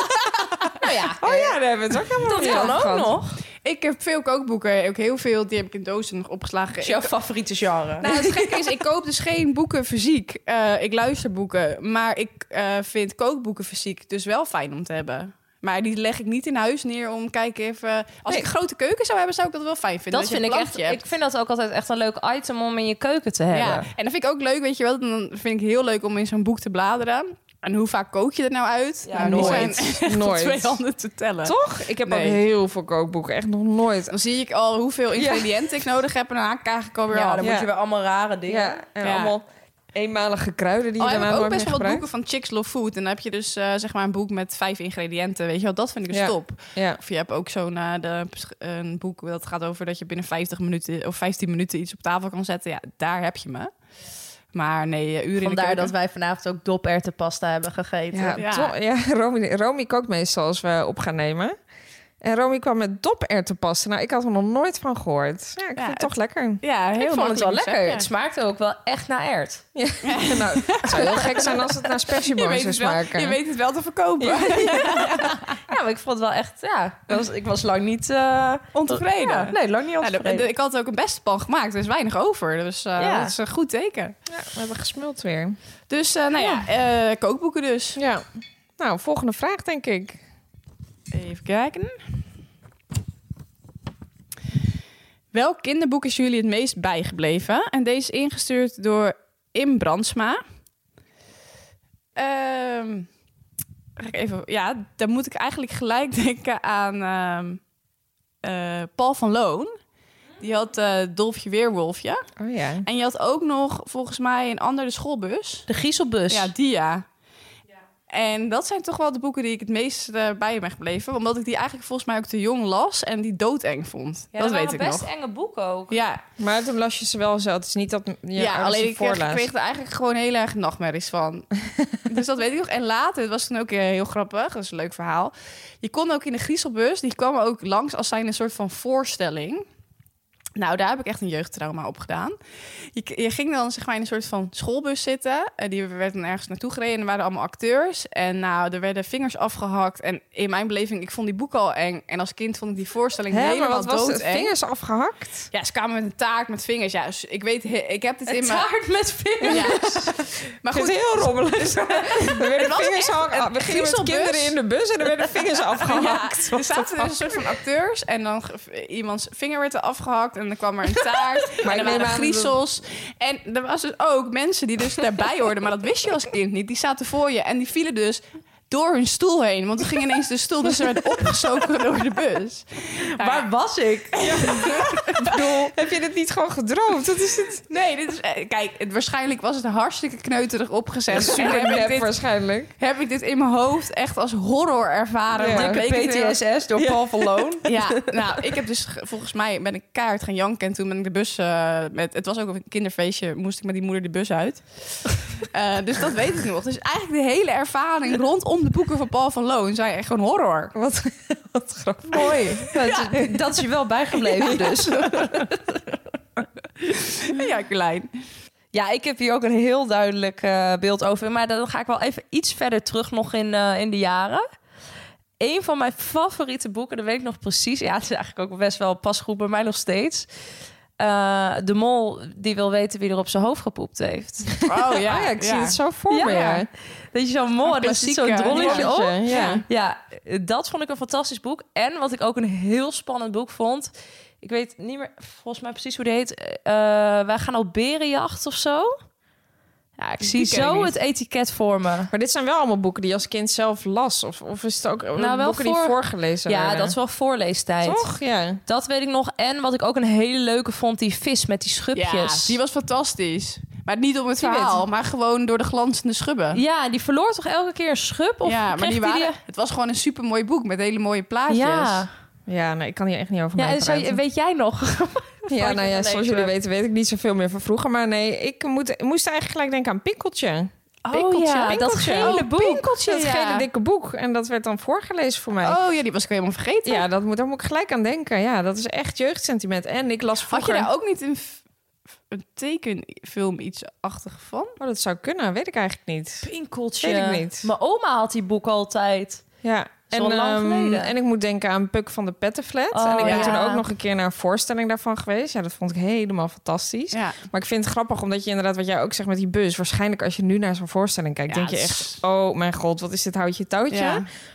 S4: nou ja,
S6: Oh ja, daar hebben we het ook helemaal
S4: dat
S6: niet
S4: kan
S6: over
S4: ook
S6: gehad.
S4: nog.
S5: Ik heb veel kookboeken, ook heel veel. Die heb ik in dozen nog opgeslagen.
S4: Is jouw
S5: Ik,
S4: favoriete genre?
S5: nou, het gekke is, ik koop dus geen boeken fysiek. Eh, ik luister boeken, maar ik eh, vind kookboeken fysiek dus wel fijn om te hebben. Maar die leg ik niet in huis neer om kijk even. Als
S6: Nee.
S5: ik een grote keuken zou hebben, zou ik dat wel fijn vinden.
S4: dat
S5: je
S4: vind ik
S5: een
S4: echt.
S5: plankje hebt.
S4: Ik vind dat ook altijd echt een leuk item om in je keuken te
S5: Ja,
S4: hebben.
S5: en dat vind ik ook leuk, weet je wel. Dan vind ik heel leuk om in zo'n boek te bladeren. En hoe vaak kook je er nou uit?
S4: Ja,
S5: Nou, die
S6: Nooit.
S5: zijn op twee
S6: nooit.
S5: handen te tellen.
S6: Toch? Ik heb
S5: Nee.
S6: ook heel veel kookboeken. Echt nog nooit.
S5: Dan zie ik al hoeveel ingrediënten ik nodig heb. En dan haak ik eigenlijk alweer af.
S6: dan moet je weer
S4: allemaal rare
S6: Ja, en
S5: Ja.
S6: allemaal eenmalige kruiden die
S5: Oh,
S6: je
S5: heb
S6: daarna
S5: ik ook
S6: nooit
S5: best
S6: meer
S5: wel wat
S6: gebruikt.
S5: boeken van Chicks Love Food. En dan heb je dus eh, zeg maar een boek met vijf ingrediënten. Weet je wel, dat vind ik dus
S6: Ja.
S5: top.
S6: Ja.
S5: Of je hebt ook zo'n eh, de- een boek dat gaat over dat je binnen 50 minuten of 15 minuten iets op tafel kan zetten. Ja, daar heb je me. Maar nee, eh, uren in de
S4: Vandaar
S5: keuken.
S4: dat wij vanavond ook doperwtenpasta hebben gegeten.
S6: Ja,
S5: Ja.
S6: to- ja Romy, Romy kookt meestal als we op gaan nemen. En Romy kwam met doperwten passen. Nou, ik had er nog nooit van gehoord. Ja, ik
S5: Ja,
S6: vind het
S5: het-
S6: toch lekker.
S5: Ja, heel
S4: ik vond het wel
S5: makkelijk
S4: lekker.
S5: recept,
S4: Het
S5: ja.
S4: smaakte ook wel echt naar ert.
S6: nou, het zou heel gek zijn als het naar
S5: Je
S6: spersiebonen
S5: weet,
S6: zou
S5: het wel,
S6: smaken.
S5: je weet het wel te verkopen.
S4: Ja, maar ik vond het wel echt... Ja, ik was, ik was lang niet... eh,
S5: Ontevreden.
S4: ja, nee, lang niet
S5: Ja, de-
S4: ontevreden.
S5: de- ik had ook een beste pan gemaakt. Er is weinig over. Dus eh,
S4: Ja.
S5: dat is een goed teken.
S6: Ja, we hebben gesmuld weer.
S5: Dus eh, nou ja, eh, kookboeken dus.
S6: Ja. Nou, volgende vraag denk ik.
S5: Even kijken. Welk kinderboek is jullie het meest bijgebleven? En deze is ingestuurd door Im Brandsma. Ehm, ga ik even, ja, dan moet ik eigenlijk gelijk denken aan ehm, eh, Paul van Loon. Die had eh, Dolfje Weerwolfje.
S6: Oh ja.
S5: En je had ook nog volgens mij een ander de schoolbus.
S4: De Gieselbus.
S5: Ja, die ja. En dat zijn toch wel de boeken die ik het meest eh, bij ben gebleven. Omdat ik die eigenlijk volgens mij ook te jong las en die doodeng vond.
S4: Ja,
S5: dat
S4: waren
S5: weet ik
S4: best
S5: nog.
S4: enge boeken ook.
S5: Ja,
S6: Maar toen las je ze wel zo. Het is niet dat je
S5: ja,
S6: ouders
S5: alleen
S6: ze
S5: ik kreeg,
S6: voorlazen.
S5: kreeg er eigenlijk gewoon heel erg nachtmerries van. dus dat weet ik nog. En later, het was toen ook eh, heel grappig, dat is een leuk verhaal. Je kon ook in de Griezelbus, die kwam ook langs als zijn een soort van voorstelling. Nou, daar heb ik echt een jeugdtrauma op gedaan. Je, k- je ging dan zeg maar in een soort van schoolbus zitten. En die werd dan ergens naartoe gereden. En er waren allemaal acteurs. En nou, er werden vingers afgehakt. En in mijn beleving, ik vond die boeken al eng. En als kind vond ik die voorstelling
S6: Hè, maar
S5: helemaal
S6: wat was het?
S5: doodeng.
S6: Vingers afgehakt?
S5: Ja, ze kwamen met een taart met vingers. Ja, dus ik weet, he- ik heb dit in
S4: Een
S5: mijn...
S4: taart met vingers.
S5: Ja. Maar
S6: Het
S5: goed,
S6: is heel rommelig. Er werden
S5: was
S6: vingers
S5: echt
S6: af-
S5: een
S6: We gingen met
S5: griezelbus.
S6: kinderen in de bus en er werden vingers afgehakt.
S5: er zaten dus een soort van acteurs en dan ge- iemands vinger werd er afgehakt en dan kwam er een taart en
S6: Maar ik
S5: er
S6: neem
S5: waren
S6: aan dat-
S5: griezels. En er was dus ook mensen die dus daarbij hoorden, maar dat wist je als kind niet. Die zaten voor je en die vielen dus door hun stoel heen, want er ging ineens de stoel, dus ze werd opgezogen door de bus. Nou ja.
S4: was ik?
S6: Heb je dit niet gewoon gedroomd? Dat is het
S5: Nee, dit is, eh, kijk, het, waarschijnlijk was het hartstikke kneuterig opgezet. En
S6: super
S5: heb ik
S6: nep
S5: dit
S6: waarschijnlijk.
S5: heb ik dit in mijn hoofd echt als horror ervaren.
S6: Ja.
S5: Maar
S6: Dikke
S5: bleek het heel-
S4: door Paul van Loon.
S5: Ja, nou, ik heb dus ge- volgens mij ben ik kaart gaan janken en toen ben ik de bus eh, met. Het was ook een kinderfeestje, moest ik met die moeder de bus uit. Eh, dus dat weet ik nog. Dus eigenlijk de hele ervaring rondom de boeken van Paul van Loon zijn echt gewoon horror.
S6: Wat, wat grappig.
S4: Mooi. Dat is je wel bijgebleven dus.
S5: Ja, Carlijn.
S4: Ja, ik heb hier ook een heel duidelijk eh, beeld over. Maar dan ga ik wel even iets verder terug nog in, eh, in de jaren. Een van mijn favoriete boeken, dat weet ik nog precies. Ja, het is eigenlijk ook best wel pasgoed bij mij nog steeds. Eh, de mol die wil weten wie er op zijn hoofd gepoept heeft.
S5: Oh ja,
S6: Ah ja, ik zie het zo voor me. Ja.
S4: Dat je zo'n mol, en dan zit zo'n
S5: klassieker.
S4: drolletje op.
S6: Ja. Ja.
S4: Ja, dat vond ik een fantastisch boek. En wat ik ook een heel spannend boek vond. Ik weet niet meer volgens mij precies hoe die heet. Eh, wij gaan op berenjacht of zo. Ja, ik zie
S5: ken ik
S4: zo
S5: niet.
S4: het etiket voor me.
S6: Maar dit zijn wel allemaal boeken die je als kind zelf las. Of, of is het ook
S4: Nou, wel
S6: boeken die
S4: voor-
S6: voorgelezen
S4: Ja,
S6: werden?
S4: dat is wel voorleestijd.
S6: Toch? Ja.
S4: Dat weet ik nog. En wat ik ook een hele leuke vond, die vis met die
S5: Ja,
S4: schubjes.
S5: die was fantastisch. Maar niet om het
S6: Die
S5: verhaal, maar gewoon door de glanzende schubben.
S4: Ja, die verloor toch elke keer een schub? Of
S5: ja, maar
S4: kreeg
S5: die
S4: die
S5: waren, het was gewoon een supermooi boek met hele mooie plaatjes.
S4: Ja,
S6: Ja, nee, ik kan hier echt niet over
S4: ja
S6: mee
S4: en zou je-
S6: praten.
S4: weet jij nog?
S6: Ja, nou ja,
S4: Nee,
S6: zoals
S4: ik,
S6: jullie
S4: eh,
S6: weten weet ik niet zoveel meer van vroeger. Maar nee, ik moet, moest eigenlijk gelijk denken aan Pikkeltje.
S4: oh ja, dat
S6: Pinkeltje.
S4: gele
S6: Oh,
S4: boek.
S6: Pinkeltje, dat
S5: ja.
S6: gele dikke boek. En dat werd dan voorgelezen voor mij.
S5: Oh ja, die was ik helemaal vergeten.
S6: Ja, dat moet, daar moet ik gelijk aan denken. Ja, dat is echt jeugdsentiment. En ik las
S5: Had
S6: vroeger...
S5: je daar ook niet een, f- een tekenfilm iets achtig van?
S6: Oh, dat zou kunnen, weet ik eigenlijk niet.
S4: Pinkeltje.
S6: Weet ik niet.
S4: Mijn oma had die boek altijd.
S6: Ja.
S4: is wel lang
S6: ehm,
S4: geleden.
S6: en ik moet denken aan Puk van de Pettenflat.
S4: Oh,
S6: en ik
S5: ja.
S6: ben toen ook nog een keer naar een voorstelling daarvan geweest. Ja, dat vond ik helemaal fantastisch.
S5: Ja.
S6: Maar ik vind het grappig, omdat je inderdaad, wat jij ook zegt met die bus... waarschijnlijk als je nu naar zo'n voorstelling
S5: Ja,
S6: kijkt, denk je
S5: het
S6: echt...
S5: is-
S6: oh mijn god, wat is dit houtje touwtje?
S5: Ja.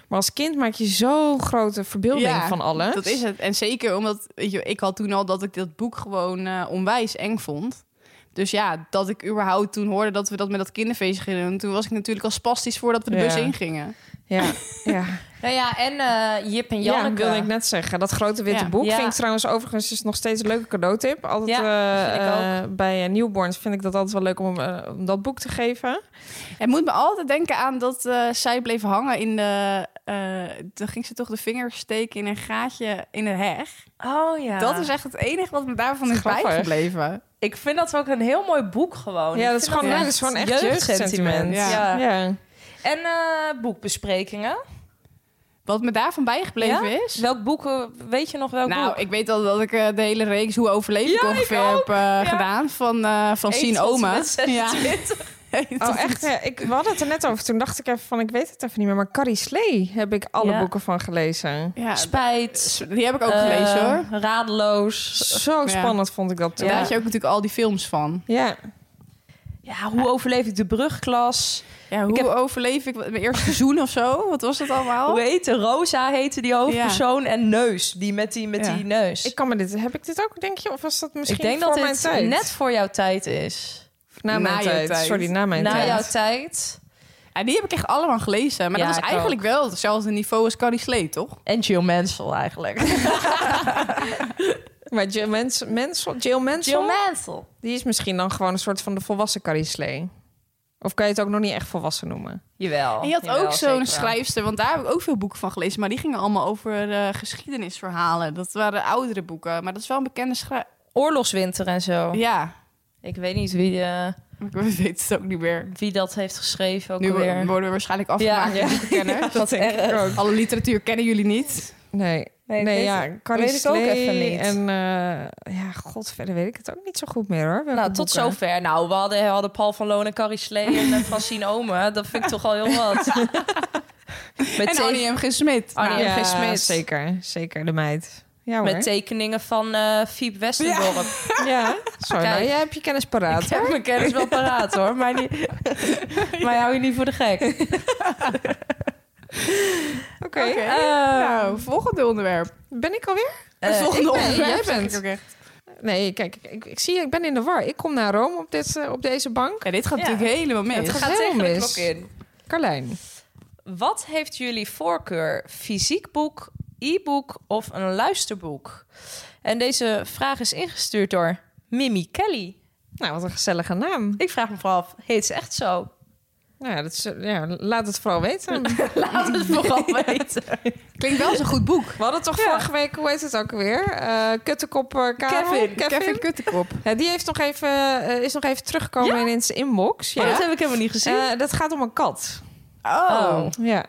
S6: Maar als kind maak je zo'n grote verbeelding
S5: Ja,
S6: van alles.
S5: Dat is het. En zeker omdat, weet je, ik had toen al dat ik dat boek gewoon eh, onwijs eng vond. Dus ja, dat ik überhaupt toen hoorde dat we dat met dat kinderfeestje gingen doen. Toen was ik natuurlijk al spastisch voordat we de
S6: Ja.
S5: bus ingingen.
S6: Ja, ja.
S4: Nou ja, en eh, Jip en
S6: Ja,
S4: Janneke.
S6: wilde ik net zeggen. Dat grote witte
S5: Ja.
S6: boek
S4: Ja.
S6: vind ik trouwens overigens is nog steeds een leuke cadeautip. Altijd
S4: Ja,
S6: eh,
S4: vind ik
S6: eh, bij eh, newborns vind ik dat altijd wel leuk om, eh, om dat boek te geven.
S5: Het moet me altijd denken aan dat eh, zij bleef hangen in de... eh dan ging ze toch de vinger steken in een gaatje in een heg.
S4: Oh ja.
S5: Dat is echt het enige wat me daarvan is
S6: Grappig.
S5: bijgebleven.
S4: Ik vind dat ook een heel mooi boek gewoon.
S6: ja,
S4: Ik
S6: dat is
S4: vind
S6: gewoon, dat is gewoon echt jeugdsentiment.
S5: Ja.
S6: Ja. Ja.
S4: En eh, boekbesprekingen.
S5: Wat me daarvan bijgebleven is...
S4: Welk boek, eh, weet je nog welk
S5: nou,
S4: boek?
S5: ik weet al dat ik eh, de hele reeks Hoe overleef ik
S4: Ja, ik
S5: ongeveer
S4: ook.
S5: heb eh, gedaan van eh Francine Oma.
S4: Ja.
S6: Oh, echt? Ja, ik, we hadden het er net over. Toen dacht ik even van, ik weet het even niet meer. Maar Carrie Slee heb ik alle
S4: Ja.
S6: boeken van gelezen.
S5: Ja,
S4: Spijt.
S5: die heb ik ook gelezen
S4: eh,
S5: hoor.
S4: Radeloos.
S6: Zo
S5: Ja.
S6: spannend vond ik dat toen.
S5: Daar
S4: Ja.
S5: had je ook natuurlijk al die films van.
S6: Ja.
S4: Ja, hoe overleef ik de brugklas?
S5: Ja, hoe
S4: Ik heb-
S5: overleef ik wat- mijn eerste seizoen of zo? Wat was dat
S6: Oh.
S5: allemaal?
S4: Hoe heette Rosa heette die hoofdpersoon en neus die met die met
S5: Ja.
S4: die neus.
S6: Ik kan me dit, heb ik dit ook, denk je? Of was dat misschien
S4: Ik denk
S6: voor
S4: dat
S6: mijn
S4: dit
S6: tijd?
S4: net voor jouw tijd is.
S6: na mijn
S5: na je
S6: tijd.
S5: tijd.
S6: Sorry, na mijn
S4: Na
S6: tijd.
S4: jouw tijd
S5: Ja, die heb ik echt allemaal gelezen. Maar
S4: Ja,
S5: dat
S4: ik Oh,
S5: was eigenlijk wel hetzelfde niveau als Carrie Slee, toch?
S4: en Jill Mansell eigenlijk.
S6: Maar Jill Mansell, Mansell- Jill Mansell,
S4: Jill Mansell.
S6: die is misschien dan gewoon een soort van de volwassen Carrie Slee. Of kan je het ook nog niet echt volwassen noemen?
S4: Jawel.
S5: En je had
S4: jawel,
S5: ook
S4: zeker wel.
S5: zo'n schrijfster, want daar heb ik ook veel boeken van gelezen. Maar die gingen allemaal over eh, geschiedenisverhalen. Dat waren oudere boeken, maar dat is wel een bekende schrijver.
S4: Oorlogswinter en zo.
S5: Ja,
S4: Ik weet niet wie, eh,
S5: ik weet het ook niet meer.
S4: wie dat heeft geschreven ook
S5: nu wo-
S4: weer.
S5: worden we waarschijnlijk afgemaakt
S4: Ja,
S5: door
S4: ja.
S5: boekenkenners.
S4: dat denk ik ook.
S5: Alle literatuur kennen jullie niet.
S6: Nee,
S4: Nee,
S6: nee,
S4: dat weet ik-
S6: ja,
S4: dat
S6: Carrie
S4: weet ik ook
S6: Slee
S4: even niet.
S6: En eh, ja, god, verder weet ik het ook niet zo goed meer hoor. welke
S4: Nou, tot
S6: boeken.
S4: zover. Nou, we hadden, we hadden Paul van Loon en Carrie Slee en eh, Francine Omen. Dat vind ik toch al heel wat. Met,
S5: en
S4: te-
S5: Annie M. G. Smit.
S4: Annie
S5: Nou,
S4: M.
S6: Ja,
S4: G. Smit.
S6: zeker, zeker de meid. Ja hoor.
S4: met tekeningen van eh Fiep Westendorp.
S6: ja, sorry,
S4: Kijk.
S6: nou, jij hebt je kennis paraat.
S4: Ik heb mijn kennis wel paraat hoor, maar, niet, maar hou je niet voor de gek.
S5: Oké.
S6: Oké,
S4: Eh,
S5: nou, volgende onderwerp.
S6: ben ik alweer?
S4: eh,
S5: Het volgende
S6: ik ben-
S5: onderwerp.
S6: jij bent.
S5: zeg ik ook echt.
S6: Nee, kijk, ik, ik, ik zie, ik ben in de war. Ik kom naar Rome op, dit, eh, op deze bank.
S5: Ja, dit gaat
S4: Ja.
S5: natuurlijk helemaal
S4: het
S5: mis.
S6: gaat
S4: gaat tegen de
S6: helemaal
S4: klok
S6: mis.
S4: in.
S6: Carlijn.
S4: Wat heeft jullie voorkeur? Fysiek boek, e-book of een luisterboek? En deze vraag is ingestuurd door Mimi Kelly.
S6: Nou, wat een gezellige naam.
S4: Ik vraag me vooral af, heet ze echt zo?
S6: Nou, ja, dat is, ja, laat het vooral weten.
S4: Laat het vooral weten.
S5: Klinkt wel eens een goed boek.
S6: We hadden toch
S4: Ja.
S6: vorige week, hoe heet het ook weer? Eh kuttekop eh, Karel?
S4: Kevin.
S5: Kevin, Kuttekop.
S6: Ja, die heeft nog even, eh, is nog even teruggekomen in zijn inbox. Ja.
S4: Oh, dat heb ik helemaal niet gezien.
S6: Eh, dat gaat om een kat.
S4: Oh.
S6: Ja.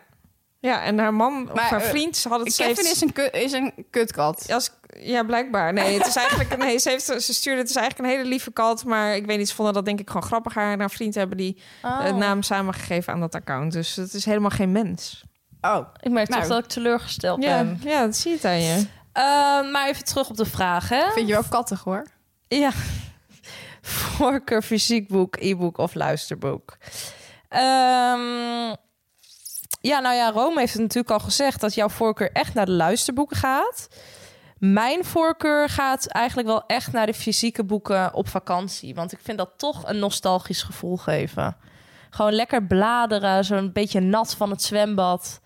S6: Ja, en haar man of
S5: Maar,
S6: haar
S5: eh,
S6: vriend ze hadden het... ze
S5: Kevin
S6: heeft-
S5: is een, ku- is een kutkat.
S6: Als, ja, blijkbaar. Nee, het is eigenlijk, nee ze, heeft, ze stuurde het is eigenlijk een hele lieve kat. Maar ik weet niet, ze vonden dat denk ik gewoon grappig. Haar en haar vriend hebben die
S4: Oh.
S6: eh, naam samengegeven aan dat account. Dus het is helemaal geen mens. Eh,
S5: Oh.
S4: Ik merk
S5: Nou.
S4: toch dat ik teleurgesteld
S6: Ja,
S4: ben.
S6: ja, dat zie je het aan je.
S4: Eh, maar even terug op de vraag, hè?
S5: Vind je wel kattig hoor.
S4: Ja. Voorkeur fysiek boek, e-book of luisterboek. Ehm, ja, nou ja, Rome heeft het natuurlijk al gezegd dat jouw voorkeur echt naar de luisterboeken gaat. Mijn voorkeur gaat eigenlijk wel echt naar de fysieke boeken op vakantie. Want ik vind dat toch een nostalgisch gevoel geven. Gewoon lekker bladeren, zo'n beetje nat van het zwembad.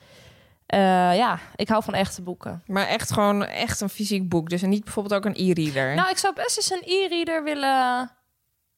S4: Eh, ja, ik hou van echte boeken.
S6: Maar echt gewoon echt een fysiek boek. Dus en niet bijvoorbeeld ook een e-reader.
S4: Nou, ik zou best eens een e-reader willen,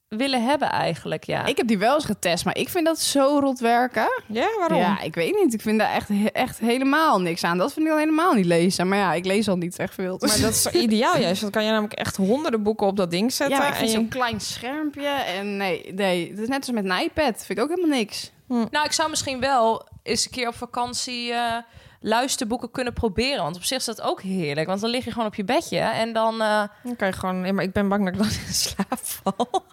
S4: willen hebben eigenlijk, ja.
S5: Ik heb die wel eens getest, maar ik vind dat zo rot werken.
S6: ja, waarom?
S5: Ja, ik weet niet. Ik vind daar echt, he- echt helemaal niks aan. Dat vind ik dan helemaal niet lezen. Maar ja, ik lees al niet echt veel. Dus.
S6: Maar dat is toch ideaal juist. Dan kan je namelijk echt honderden boeken op dat ding zetten.
S5: ja, maar ik vind
S6: en je-
S5: zo'n klein schermpje. En nee, nee, dat is net als met een iPad. Vind ik ook helemaal niks.
S4: Nou, ik zou misschien wel eens een keer op vakantie eh, luisterboeken kunnen proberen. Want op zich is dat ook heerlijk. Want dan lig je gewoon op je bedje en dan... eh,
S6: Dan kan je gewoon... nee, maar ik ben bang dat ik dan in slaap val.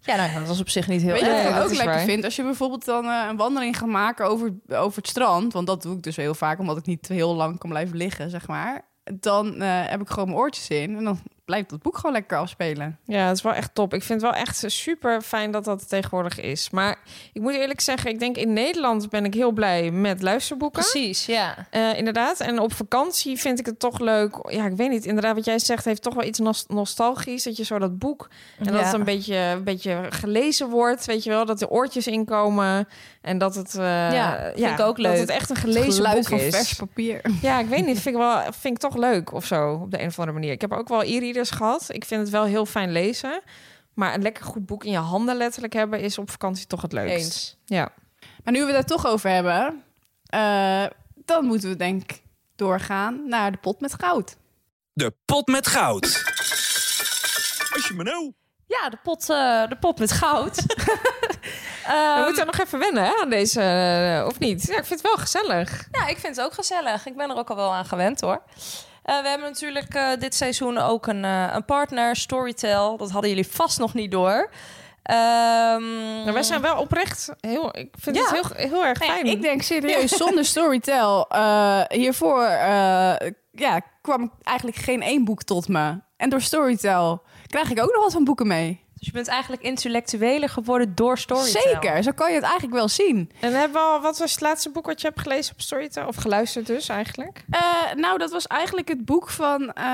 S4: ja, nou, ja, dat is op zich niet heel
S5: Weet je
S4: erg.
S5: wat
S6: Nee,
S5: ik
S6: dat
S5: ook
S6: is
S5: lekker
S6: waar.
S5: vind? Als je bijvoorbeeld dan eh, een wandeling gaat maken over, over het strand. Want dat doe ik dus heel vaak, omdat ik niet heel lang kan blijven liggen, zeg maar. Dan eh, heb ik gewoon mijn oortjes in. En dan blijft dat boek gewoon lekker afspelen.
S6: Ja, het is wel echt top. Ik vind het wel echt super fijn dat dat tegenwoordig is. Maar ik moet eerlijk zeggen, ik denk in Nederland ben ik heel blij met luisterboeken.
S4: Precies, ja.
S6: Eh, inderdaad. En op vakantie vind ik het toch leuk. Ja, ik weet niet. Inderdaad, wat jij zegt heeft toch wel iets nos- nostalgisch. Dat je zo dat boek en dat
S4: Ja.
S6: het een beetje, een beetje gelezen wordt. Weet je wel, dat er oortjes inkomen. En dat het... eh,
S4: Ja, vind ik ook leuk.
S6: Dat het echt een gelezen
S5: Geluid
S6: boek
S5: van
S6: is.
S5: vers papier.
S6: Ja, ik weet niet. Vind ik, wel, vind ik toch leuk of zo, op de een of andere manier. Ik heb ook wel e-readers gehad. Ik vind het wel heel fijn lezen. Maar een lekker goed boek in je handen letterlijk hebben... is op vakantie toch het leukst.
S4: Eens.
S6: Ja.
S5: Maar nu we het daar toch over hebben, eh, dan moeten we denk ik doorgaan naar de pot met goud.
S3: De pot met goud. Als je me nou...
S4: Ja, de pot, eh, de pot met goud. Ehm,
S6: We moeten nog even wennen hè, aan deze, eh, of niet? Ja, ik vind het wel gezellig.
S4: Ja, Nou, ik vind het ook gezellig. Ik ben er ook al wel aan gewend hoor. Eh, we hebben natuurlijk eh, dit seizoen ook een, eh, een partner, Storytel. Dat hadden jullie vast nog niet door. Ehm,
S6: Maar wij zijn wel oprecht heel... Ik vind
S4: Ja.
S6: het heel, heel erg fijn.
S5: Mhm. Ik denk serieus, zonder Storytel, eh, hiervoor eh, ja, kwam eigenlijk geen één boek tot me. En door Storytel krijg ik ook nog wat van boeken mee.
S4: Dus je bent eigenlijk intellectueler geworden door storytelling.
S5: Zeker, zo kan je het eigenlijk wel zien.
S6: En hebben we al, wat was het laatste boek wat je hebt gelezen op Storytel? Of geluisterd dus eigenlijk?
S5: Eh, nou, dat was eigenlijk het boek van eh,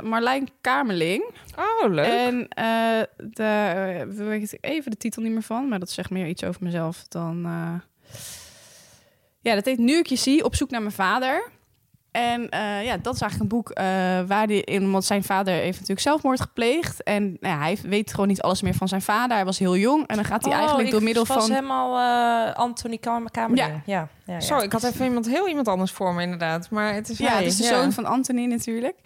S5: Marlijn Kamerling.
S6: Oh, leuk.
S5: En eh de, ik weet even de titel niet meer van, maar dat zegt meer iets over mezelf dan. eh. Ja, dat heet Nu ik je zie, op zoek naar mijn vader. En eh, ja, dat is eigenlijk een boek eh, waar die in, want zijn vader heeft natuurlijk zelfmoord gepleegd. En nou ja, hij weet gewoon niet alles meer van zijn vader. Hij was heel jong en dan gaat hij
S4: Oh,
S5: eigenlijk door
S4: ik
S5: middel
S4: was
S5: van.
S4: helemaal eh Anthony Kam- Kamerling. Ja. Ja, ja,
S6: Zo, ik had even iemand, heel iemand anders voor me inderdaad. Maar het is
S5: Ja,
S6: hij.
S5: het is de
S6: Ja.
S5: zoon van Anthony natuurlijk.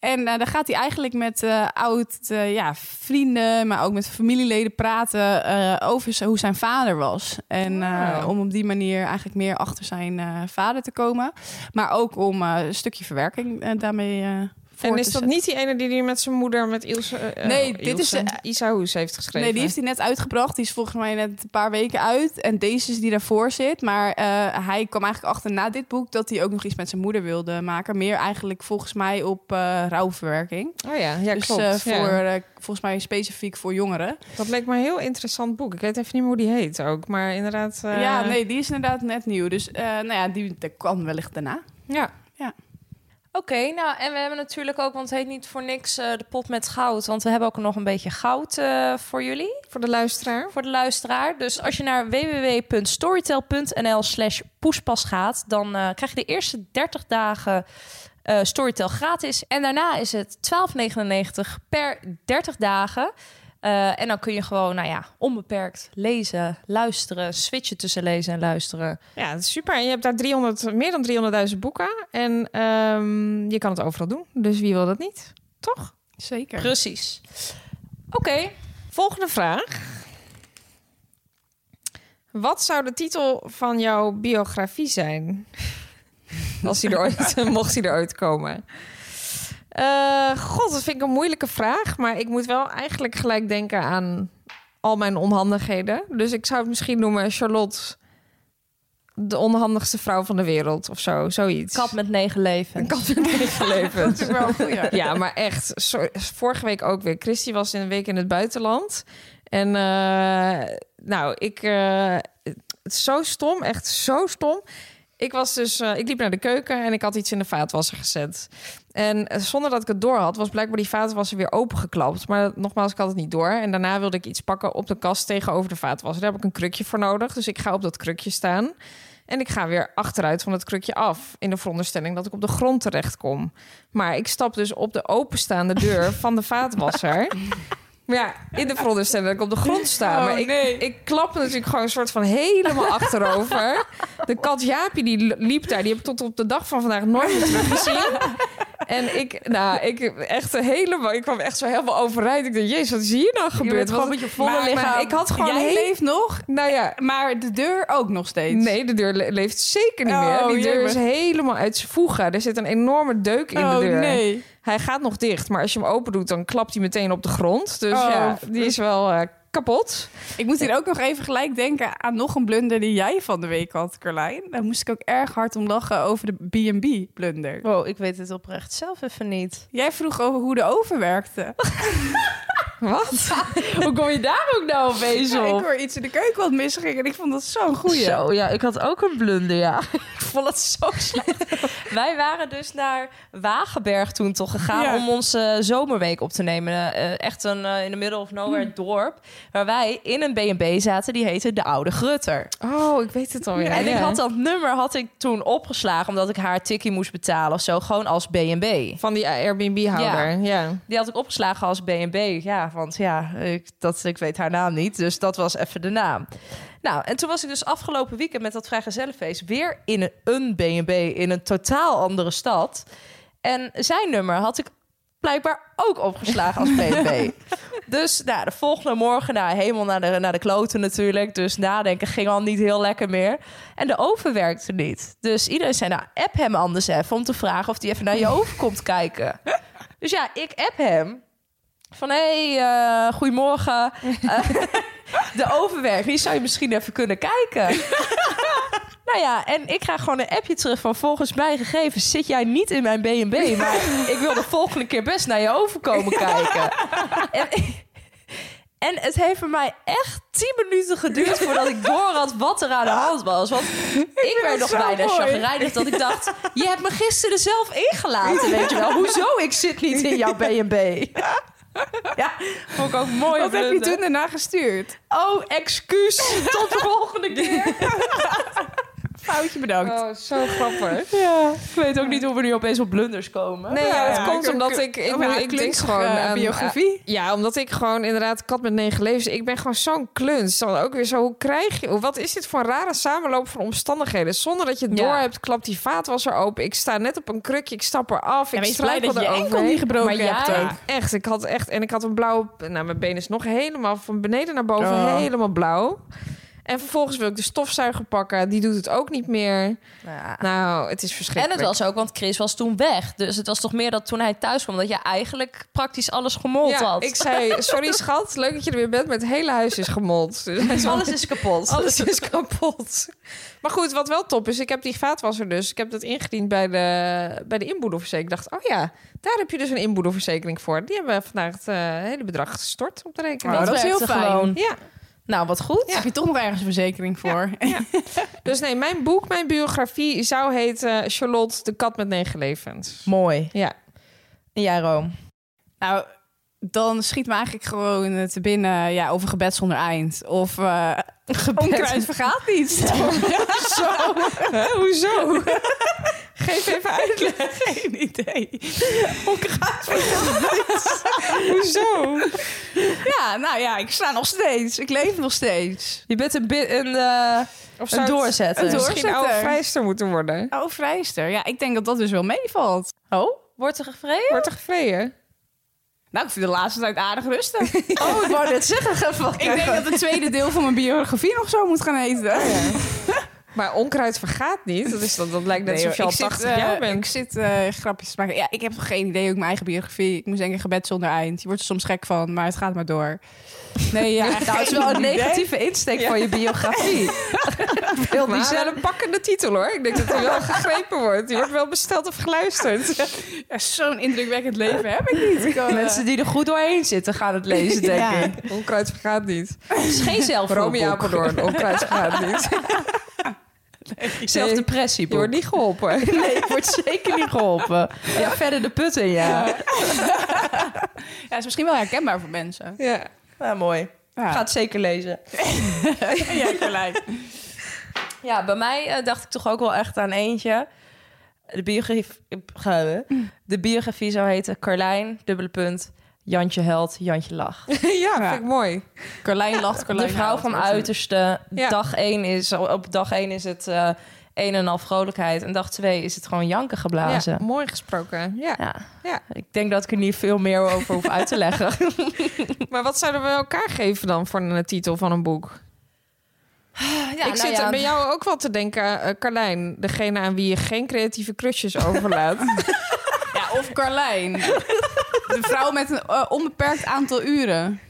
S5: En eh, dan gaat hij eigenlijk met eh, oud eh, ja, vrienden, maar ook met familieleden praten eh, over zo- hoe zijn vader was. En eh, om op die manier eigenlijk meer achter zijn eh, vader te komen. Maar ook om eh, een stukje verwerking eh, daarmee eh voor
S6: En
S5: te
S6: is dat
S5: zetten.
S6: niet die ene die die met zijn moeder, met Ilse... eh,
S5: Nee,
S6: eh,
S5: dit is,
S6: Ilse,
S5: eh,
S6: Isa Hoes heeft geschreven.
S5: Nee, die heeft hij net uitgebracht. Die is volgens mij net een paar weken uit. En deze is die daarvoor zit. Maar eh, hij kwam eigenlijk achter na dit boek dat hij ook nog iets met zijn moeder wilde maken. Meer eigenlijk volgens mij op eh rouwverwerking.
S6: Oh ja, ja
S5: dus
S6: klopt.
S5: eh,
S6: Ja.
S5: voor, eh, volgens mij specifiek voor jongeren.
S6: Dat leek me een heel interessant boek. Ik weet even niet meer hoe die heet ook, maar inderdaad... eh,
S5: Ja, nee, die is inderdaad net nieuw. Dus eh, nou ja, die dat kan wellicht daarna.
S6: Ja.
S4: Oké, nou en we hebben natuurlijk ook, want het heet niet voor niks eh, de pot met goud. Want we hebben ook nog een beetje goud eh, voor jullie,
S6: Voor de luisteraar.
S4: voor de luisteraar. Dus als je naar www.storytel.nl slash poespas gaat, dan eh, krijg je de eerste 30 dagen eh, Storytel gratis. En daarna is het 12,99 per 30 dagen. Eh, en dan kun je gewoon, nou ja, onbeperkt lezen, luisteren, switchen tussen lezen en luisteren.
S6: Ja, dat is super. En je hebt daar 300, meer dan 300.000 boeken. En ehm, je kan het overal doen. Dus wie wil dat niet? Toch?
S5: Zeker.
S4: Precies. Oké,
S6: Volgende vraag. Wat zou de titel van jouw biografie zijn? Als die er ooit, mocht die er ooit komen. Eh, God, dat vind ik een moeilijke vraag. Maar ik moet wel eigenlijk gelijk denken aan al mijn onhandigheden. Dus ik zou het misschien noemen Charlotte... de onhandigste vrouw van de wereld of zo. Zoiets.
S4: kap met negen leven.
S6: Een kat in negen levens.
S5: Dat is wel een goeie.
S6: Ja, maar echt. zo- vorige week ook weer. Christy was in een week in het buitenland. En eh, nou, ik... eh, het is zo stom, echt zo stom. Ik was dus... eh, ik liep naar de keuken en ik had iets in de vaatwasser gezet. En eh, zonder dat ik het door had, was blijkbaar die vaatwasser weer opengeklapt. Maar nogmaals, ik had het niet door. En daarna wilde ik iets pakken op de kast tegenover de vaatwasser. Daar heb ik een krukje voor nodig. Dus ik ga op dat krukje staan. En ik ga weer achteruit van het krukje af. In de veronderstelling dat ik op de grond terecht kom. Maar ik stap dus op de openstaande deur van de vaatwasser. Maar ja, in de veronderstelling dat ik op de grond sta.
S5: oh,
S6: maar ik, ik klap natuurlijk gewoon een soort van helemaal achterover. De kat Jaapie die li- liep daar. Die heb ik tot op de dag van vandaag nooit meer teruggezien. En ik, nou, ik echt helemaal... Ik kwam echt zo helemaal overrijd. Ik dacht, jezus, wat is hier nou gebeurd? Wat- Maar- maar Ik had gewoon
S5: Jij
S6: heel...
S5: leeft nog,
S6: Nou ja,
S5: maar de deur ook nog steeds.
S6: Nee, de deur le- leeft zeker niet
S5: Oh,
S6: meer. Die deur
S5: jemig.
S6: is helemaal uit zijn voegen. Er zit een enorme deuk in
S5: Oh
S6: de deur.
S5: nee.
S6: Hij gaat nog dicht, maar als je hem open doet, dan klapt hij meteen op de grond. Dus
S5: Oh.
S6: ja, die is wel eh, kapot.
S5: Ik moet hier ook nog even gelijk denken aan nog een blunder die jij van de week had, Carlijn. Daar moest ik ook erg hard om lachen over de B&B-blunder.
S4: Wow, ik weet het oprecht zelf even niet.
S5: Jij vroeg over hoe de oven werkte.
S6: Wat?
S4: Hoe kom je daar ook nou opeens
S5: Ja, ik hoor iets in de keuken wat misging en ik vond dat zo'n goeie.
S4: Zo, ja, ik had ook een blunder, ja. ik vond het zo slecht. Wij waren dus naar Wagenberg toen toch gegaan
S5: Ja.
S4: om onze zomerweek op te nemen. Eh, echt een eh, in de middle of nowhere dorp. Waar wij in een B&B zaten, die heette De Oude Grutter.
S6: Oh, ik weet het alweer.
S4: en ik
S6: Ja.
S4: had dat nummer had ik toen opgeslagen, omdat ik haar tikkie moest betalen of zo. Gewoon als B&B.
S6: Van die Airbnb-houder, ja.
S4: Die had ik opgeslagen als B&B. Ja, want ja, ik, dat, ik weet haar naam niet. Dus dat was even de naam. Nou, en toen was ik dus afgelopen weekend met dat vrijgezellenfeest... weer in een- een B&B in een totaal andere stad. En zijn nummer had ik blijkbaar ook opgeslagen als B&B. dus nou, de volgende morgen, nou, helemaal naar de, naar de kloten natuurlijk. Dus nadenken ging al niet heel lekker meer. En de oven werkte niet. Dus iedereen zei, nou, app hem anders even... om te vragen of hij even naar je oven komt kijken. Dus ja, ik app hem. Van, hé, hey, eh, goedemorgen. Eh, de overwerking, die zou je misschien even kunnen kijken. nou ja, en ik krijg gewoon een appje terug van... volgens mij gegevens zit jij niet in mijn B&B... maar ik wil de volgende keer best naar je overkomen kijken. en... En het heeft voor mij echt 10 minuten geduurd voordat ik door had wat er aan de hand was. Want ik, werd nog
S5: zo
S4: bijna
S5: mooi.
S4: chagrijnig dat ik dacht... je hebt me gisteren zelf ingelaten, weet je wel. Hoezo, ik zit niet in jouw B&B? Ja, vond ik ook mooi.
S5: Wat heb je
S4: blunder.
S5: toen daarna gestuurd?
S4: Oh, excuus. Tot de volgende keer.
S5: Foutje bedankt.
S6: Oh, zo grappig.
S4: Ja, ik weet ook niet hoe we nu opeens op blunders komen.
S6: Nee, ja, dat
S5: Ja,
S6: komt
S5: ik-
S6: omdat ik... Ik,
S5: Oh,
S6: moet-
S5: haar
S6: ik denk
S5: klunzige
S6: gewoon aan... eh,
S5: biografie.
S6: Ja, omdat ik gewoon inderdaad kat met negen levens... Ik ben gewoon zo'n kluns. Dan ook weer zo, hoe krijg je... Wat is dit voor een rare samenloop van omstandigheden? Zonder dat je het
S4: Ja.
S6: door hebt, klapt die vaatwasser open. Ik sta net op een krukje, ik stap eraf.
S5: Ja,
S6: ik
S5: wees blij
S6: struikel
S5: dat je
S6: eroverheen.
S5: enkel niet gebroken
S6: Maar Ah, ja,
S5: hebt ook.
S4: eh.
S6: echt. Ik had echt... En ik had een blauwe... Nou, mijn been is nog helemaal van beneden naar boven
S5: Oh.
S6: helemaal blauw. En vervolgens wil ik de stofzuiger pakken. Die doet het ook niet meer. Nou, het is
S4: En
S6: verschrikkelijk.
S4: het was ook, want Chris was toen weg. Dus het was toch meer dat toen hij thuis kwam... dat je eigenlijk praktisch alles gemold
S6: ja,
S4: had.
S6: Ik zei, sorry schat, leuk dat je er weer bent, maar het hele huis is gemold. Dus hij zei,
S4: Alles is kapot.
S6: alles is kapot. Maar goed, wat wel top is, ik heb die vaatwasser dus. Ik heb dat ingediend bij de, bij de inboedelverzekering. Ik dacht, oh ja, daar heb je dus een inboedelverzekering voor. Die hebben vandaag het eh, hele bedrag gestort op de rekening.
S5: Oh, dat is
S4: werkte
S5: heel fijn.
S6: Ja,
S4: Nou, wat goed.
S5: Heb je toch nog ergens een verzekering voor?
S6: dus nee, mijn boek, mijn biografie zou heten Charlotte, de kat met negen levens.
S4: Mooi.
S6: Ja,
S4: En jij, Room?
S5: Nou, dan schiet me eigenlijk gewoon het te binnen ja, over gebed zonder eind. Of eh onkruid vergaat niet. Zo,
S6: hoezo? Geef even uitleg.
S5: geen idee.
S6: Hoezo?
S5: Ja, nou ja, ik sta nog steeds. Ik leef nog steeds.
S4: Je bent een, bi- een, eh,
S6: Of
S4: een
S6: het-
S4: doorzetter.
S5: een door-
S6: Misschien oude
S5: Doorzetter.
S6: vrijster moeten worden.
S5: Oh, vrijster. Ja, ik denk dat dat dus wel meevalt.
S4: Oh, wordt er gevreden?
S6: Wordt er gevreden?
S5: Nou, ik vind de laatste tijd aardig rustig.
S4: Oh, ik wou net zeggen.
S5: ik denk dat het tweede deel van mijn biografie nog zo moet gaan heten.
S6: Maar onkruid vergaat niet. Dat, is, dat, dat lijkt net
S5: Nee,
S6: alsof je
S5: joh,
S6: al
S5: ik zit,
S6: 80
S5: eh,
S6: jaar
S5: Ik
S6: bent.
S5: zit eh, grapjes te maken. Ja, ik heb geen idee ook mijn eigen biografie. Ik moest denken gebed zonder eind. Je wordt er soms gek van, maar het gaat maar door. Nee, ja, echt,
S4: Nou, het is wel een negatieve insteek van je biografie. Heel
S6: Maar
S4: bizar.
S6: wel een pakkende titel hoor. Ik denk dat hij wel gegrepen wordt. Die wordt wel besteld of geluisterd.
S5: Ja, Zo'n indrukwekkend leven heb ik niet. Ik, eh,
S4: Mensen die er goed doorheen zitten gaan het lezen, denk
S5: Ja.
S4: ik.
S6: Onkruid vergaat niet.
S4: Het is geen
S6: Romeo
S4: zelfhulpboek.
S6: Apeldoorn, onkruid vergaat niet. Je
S4: Zelfdepressieboek.
S6: wordt niet geholpen.
S4: Nee, ik word zeker niet geholpen. Ja, verder de put in, ja.
S5: ja, het is misschien wel herkenbaar voor mensen.
S6: Ja.
S4: Nou, mooi.
S5: Ja.
S4: Ga het zeker lezen.
S5: jij gelijk.
S4: Ja, bij mij eh, dacht ik toch ook wel echt aan eentje. De biografie, eh, de biografie zou heten Carlijn, dubbele punt, Jantje Held, Jantje Lach.
S6: ja, vind ik mooi.
S5: Carlijn lacht, Carlijn
S4: de vrouw
S5: huilt.
S4: van
S5: Wordt een-
S4: uiterste.
S6: Ja.
S4: Dag 1 is, op dag 1 is het eh een en al vrolijkheid. En dag 2 is het gewoon janken geblazen.
S6: Ja, mooi gesproken. Ja.
S4: Ja.
S6: Ja.
S4: Ik denk dat ik er niet veel meer over hoef uit te leggen.
S6: Maar wat zouden we elkaar geven dan voor een titel van een boek? ik
S4: nou
S6: zit
S4: ja.
S6: bij jou ook wel te denken, eh, Carlijn. Degene aan wie je geen creatieve crushes overlaat.
S5: Ja, of Carlijn. De vrouw met een eh, onbeperkt aantal uren.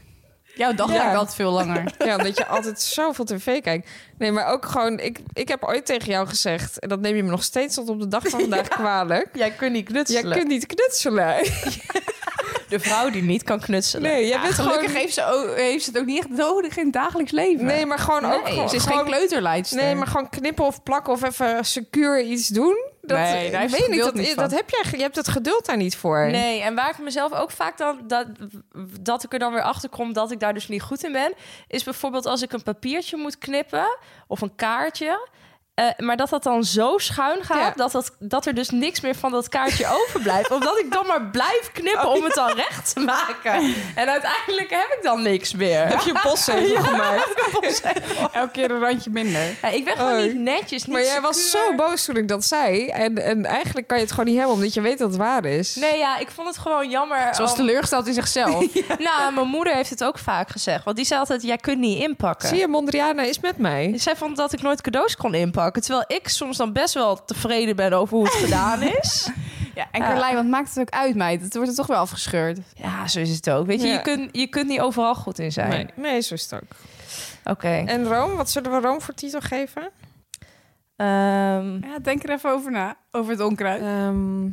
S5: Jouw dag
S6: Ja.
S5: lijkt altijd veel langer.
S6: Ja, omdat je altijd zoveel tv kijkt. Nee, maar ook gewoon... Ik, ik heb ooit tegen jou gezegd... en dat neem je me nog steeds tot op de dag van vandaag kwalijk...
S4: Jij kunt niet
S6: Jij
S4: knutselen.
S6: kunt niet knutselen.
S4: De vrouw die niet kan knutselen.
S6: Nee, jij
S5: Ja,
S6: bent
S5: gelukkig
S6: gewoon...
S5: heeft, ze ook, heeft ze het ook niet echt nodig in het dagelijks leven.
S6: Nee, maar gewoon ook
S5: Nee,
S6: gewoon...
S5: ze is
S6: gewoon-
S5: geen kleuterleidster.
S6: Nee, maar gewoon knippen of plakken of even secuur iets doen. Dat,
S5: Nee, daar heeft het
S6: ik weet niet,
S5: geduld
S6: dat,
S5: niet van.
S6: dat heb jij, ge- je hebt het geduld daar niet voor.
S4: Nee, en waar ik mezelf ook vaak dan dat, dat ik er dan weer achter kom dat ik daar dus niet goed in ben, is bijvoorbeeld als ik een papiertje moet knippen of een kaartje. eh, maar dat dat dan zo schuin gaat
S6: Ja.
S4: dat, dat, dat er dus niks meer van dat kaartje overblijft. Omdat ik dan maar blijf
S6: Oh,
S4: knippen om het dan recht te maken. En uiteindelijk heb ik dan niks meer.
S6: Heb je een postzegel gemaakt?
S5: Elke keer een randje minder.
S4: Ja, ik ben gewoon
S6: Oh.
S4: niet netjes. Niet
S6: Maar jij was
S4: secuur.
S6: zo boos toen ik dat zei. En, en eigenlijk kan je het gewoon niet hebben, omdat je weet dat het waar is.
S4: Nee, ja, ik vond het gewoon jammer.
S5: Zoals
S4: om-
S5: teleurgesteld in zichzelf.
S4: Nou, mijn moeder heeft het ook vaak gezegd. Want die zei altijd, jij kunt niet inpakken.
S6: Zie je, Mondriana is met mij.
S4: Zij vond dat ik nooit cadeaus kon inpakken. Terwijl ik soms dan best wel tevreden ben over hoe het gedaan is.
S5: ja, en Carlijn, wat maakt het ook uit, meid? Het wordt er toch wel afgescheurd.
S4: Ja, zo is het ook. Weet je,
S6: Ja.
S4: je, kunt, je kunt niet overal goed in zijn.
S6: Nee, nee, zo is het ook.
S4: Oké.
S6: En Rome, wat zullen we Rome voor titel geven?
S4: Ehm,
S5: Ja, denk er even over na. Over het onkruid.
S6: Ehm,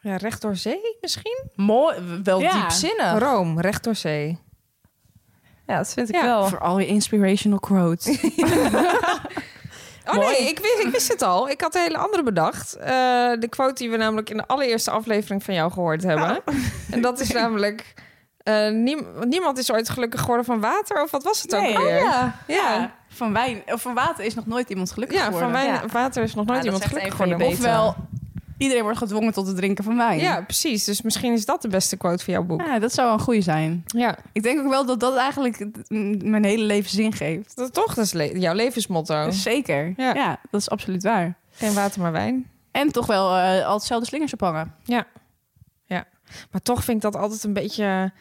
S6: ja, recht door zee misschien?
S4: mooi, wel
S5: Ja.
S4: diepzinnig.
S6: Rome, recht door zee.
S4: Ja, dat vind ik
S6: Ja,
S4: wel.
S5: Voor al je inspirational quotes.
S6: Oh nee, ik wist, ik wist het al. Ik had een hele andere bedacht. Eh, de quote die we namelijk in de allereerste aflevering van jou gehoord hebben. En dat is namelijk... eh, niem- niemand is ooit gelukkig geworden van water. Of wat was het
S5: Nee.
S6: ook alweer?
S5: Oh,
S6: ja. Ja, ja.
S5: Van wijn of van water is nog nooit iemand gelukkig
S6: van
S5: geworden.
S6: wijn,
S4: Ja.
S6: water is nog nooit
S4: Ja, dat
S6: iemand
S4: is echt
S6: gelukkig
S4: een van je
S6: geworden.
S4: betere.
S5: Ofwel, iedereen wordt gedwongen tot het drinken van wijn.
S6: Ja, precies. Dus misschien is dat de beste quote van jouw boek.
S5: Ja, dat zou wel een goede zijn.
S6: Ja,
S5: Ik denk ook wel dat dat eigenlijk het- m- mijn hele leven zin geeft. Dus
S6: dat toch? Dat is le- jouw levensmotto.
S5: Zeker.
S6: Oh. Ja.
S5: Ja. dat is absoluut waar.
S6: Geen water, maar wijn.
S5: En toch wel eh, al hetzelfde slingers ophangen.
S6: Maar toch vind ik dat altijd een beetje...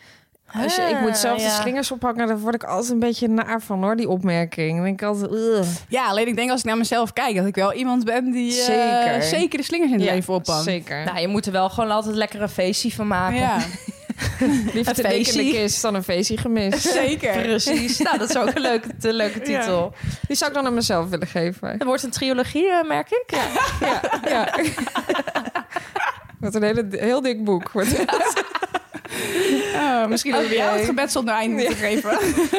S6: Als je, ik moet zelf de
S4: ja.
S6: slingers ophangen, daar word ik altijd een beetje naar van hoor, die opmerking. Dan denk ik altijd, ugh.
S5: Ja, alleen ik denk als ik naar mezelf kijk... dat ik wel iemand ben die eh,
S6: Zeker.
S5: zeker de slingers in het
S6: Ja,
S5: leven ophangt.
S6: Zeker.
S4: Nou, je moet er wel gewoon altijd lekker een feestje van maken.
S5: Ja,
S6: Liever te dik in de
S4: feestje.
S6: kist dan een Nou, feestje gemist.
S5: zeker.
S4: Precies. nou, dat is ook een leuke, een leuke titel.
S6: Die zou ik dan aan mezelf willen geven.
S4: Er wordt een trilogie, eh, merk ik.
S6: Ja, ja. Wat een hele, heel dik boek. wordt het. Oh,
S5: Eh, misschien dat we jou het gebed zonder einde moeten geven.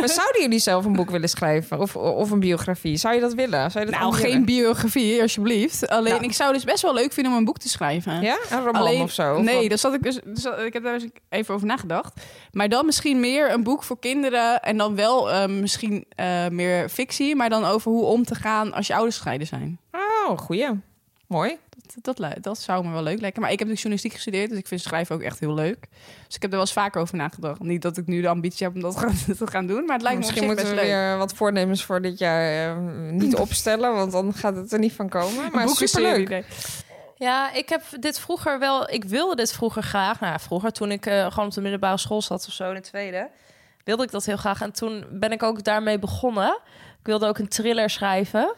S6: Maar zouden jullie zelf een boek willen schrijven? Of, of een biografie? Zou je dat willen? Zou je dat
S5: Nou,
S6: allemaal
S5: geen
S6: willen?
S5: biografie, alsjeblieft. Alleen,
S6: Nou.
S5: ik zou dus best wel leuk vinden om een boek te schrijven.
S6: Ja? Een roman
S5: Alleen,
S6: of zo? Of
S5: nee,
S6: wat?
S5: dat zat ik dus, dus dat- ik heb daar eens even over nagedacht. Maar dan misschien meer een boek voor kinderen en dan wel eh, misschien eh, meer fictie, maar dan over hoe om te gaan als je ouders gescheiden zijn.
S6: Oh, goeie. Mooi.
S5: Dat, dat, lu- dat zou me wel leuk lijken. Maar ik heb natuurlijk journalistiek gestudeerd, dus ik vind schrijven ook echt heel leuk. Dus ik heb er wel eens vaker over nagedacht. Niet dat ik nu de ambitie heb om dat gaan- te gaan doen, maar het lijkt me
S6: Misschien
S5: op zich
S6: moeten we
S5: best leuk.
S6: weer wat voornemens voor dit jaar eh, niet opstellen, want dan gaat het er niet van komen. Maar superleuk.
S5: leuk.
S4: Ja, ik heb dit vroeger wel. Ik wilde dit vroeger graag. Nou, ja, vroeger toen ik eh, gewoon op de middelbare school zat of zo in het tweede, wilde ik dat heel graag. En toen ben ik ook daarmee begonnen. Ik wilde ook een thriller schrijven.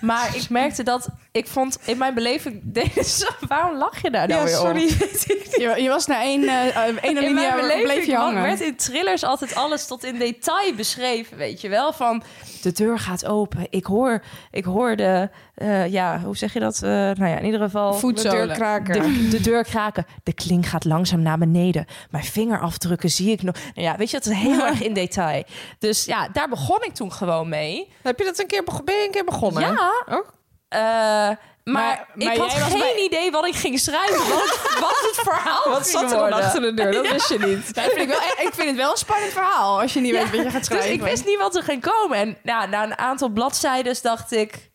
S4: Maar ik merkte dat ik vond in mijn beleving. Deze, waarom lach je daar nou
S6: Ja,
S4: weer om?
S6: sorry.
S5: Je, je was na één, eh, eh, één
S4: In mijn
S5: alinea bleef je
S4: beleving
S5: hangen.
S4: werd in thrillers altijd alles tot in detail beschreven, weet je wel? Van de deur gaat open, ik hoor, ik hoor de, eh, ja, hoe zeg je dat? Eh, nou ja, in ieder geval.
S5: Voetzolen.
S4: De, de deur kraken. De kling gaat langzaam naar beneden. Mijn vingerafdrukken zie ik nog. Nou ja, weet je, dat is heel erg in detail. Dus ja, daar begon ik toen gewoon mee.
S6: Heb je dat een keer, beg- ben je een keer begonnen?
S4: Ja.
S6: Oh.
S4: Eh, maar,
S5: Maar- maar
S4: ik had
S5: jij was
S4: geen
S5: bij-
S4: idee wat ik ging schrijven. Wat, wat het verhaal
S6: Wat
S4: ging
S6: zat er dan
S4: worden.
S6: achter de deur? Dat wist je niet.
S5: Ja, vind ik, wel, ik vind het wel een spannend verhaal als je niet weet wat je gaat
S4: Dus
S5: schrijven.
S4: ik wist niet wat er ging komen. En nou, na een aantal bladzijden dacht ik...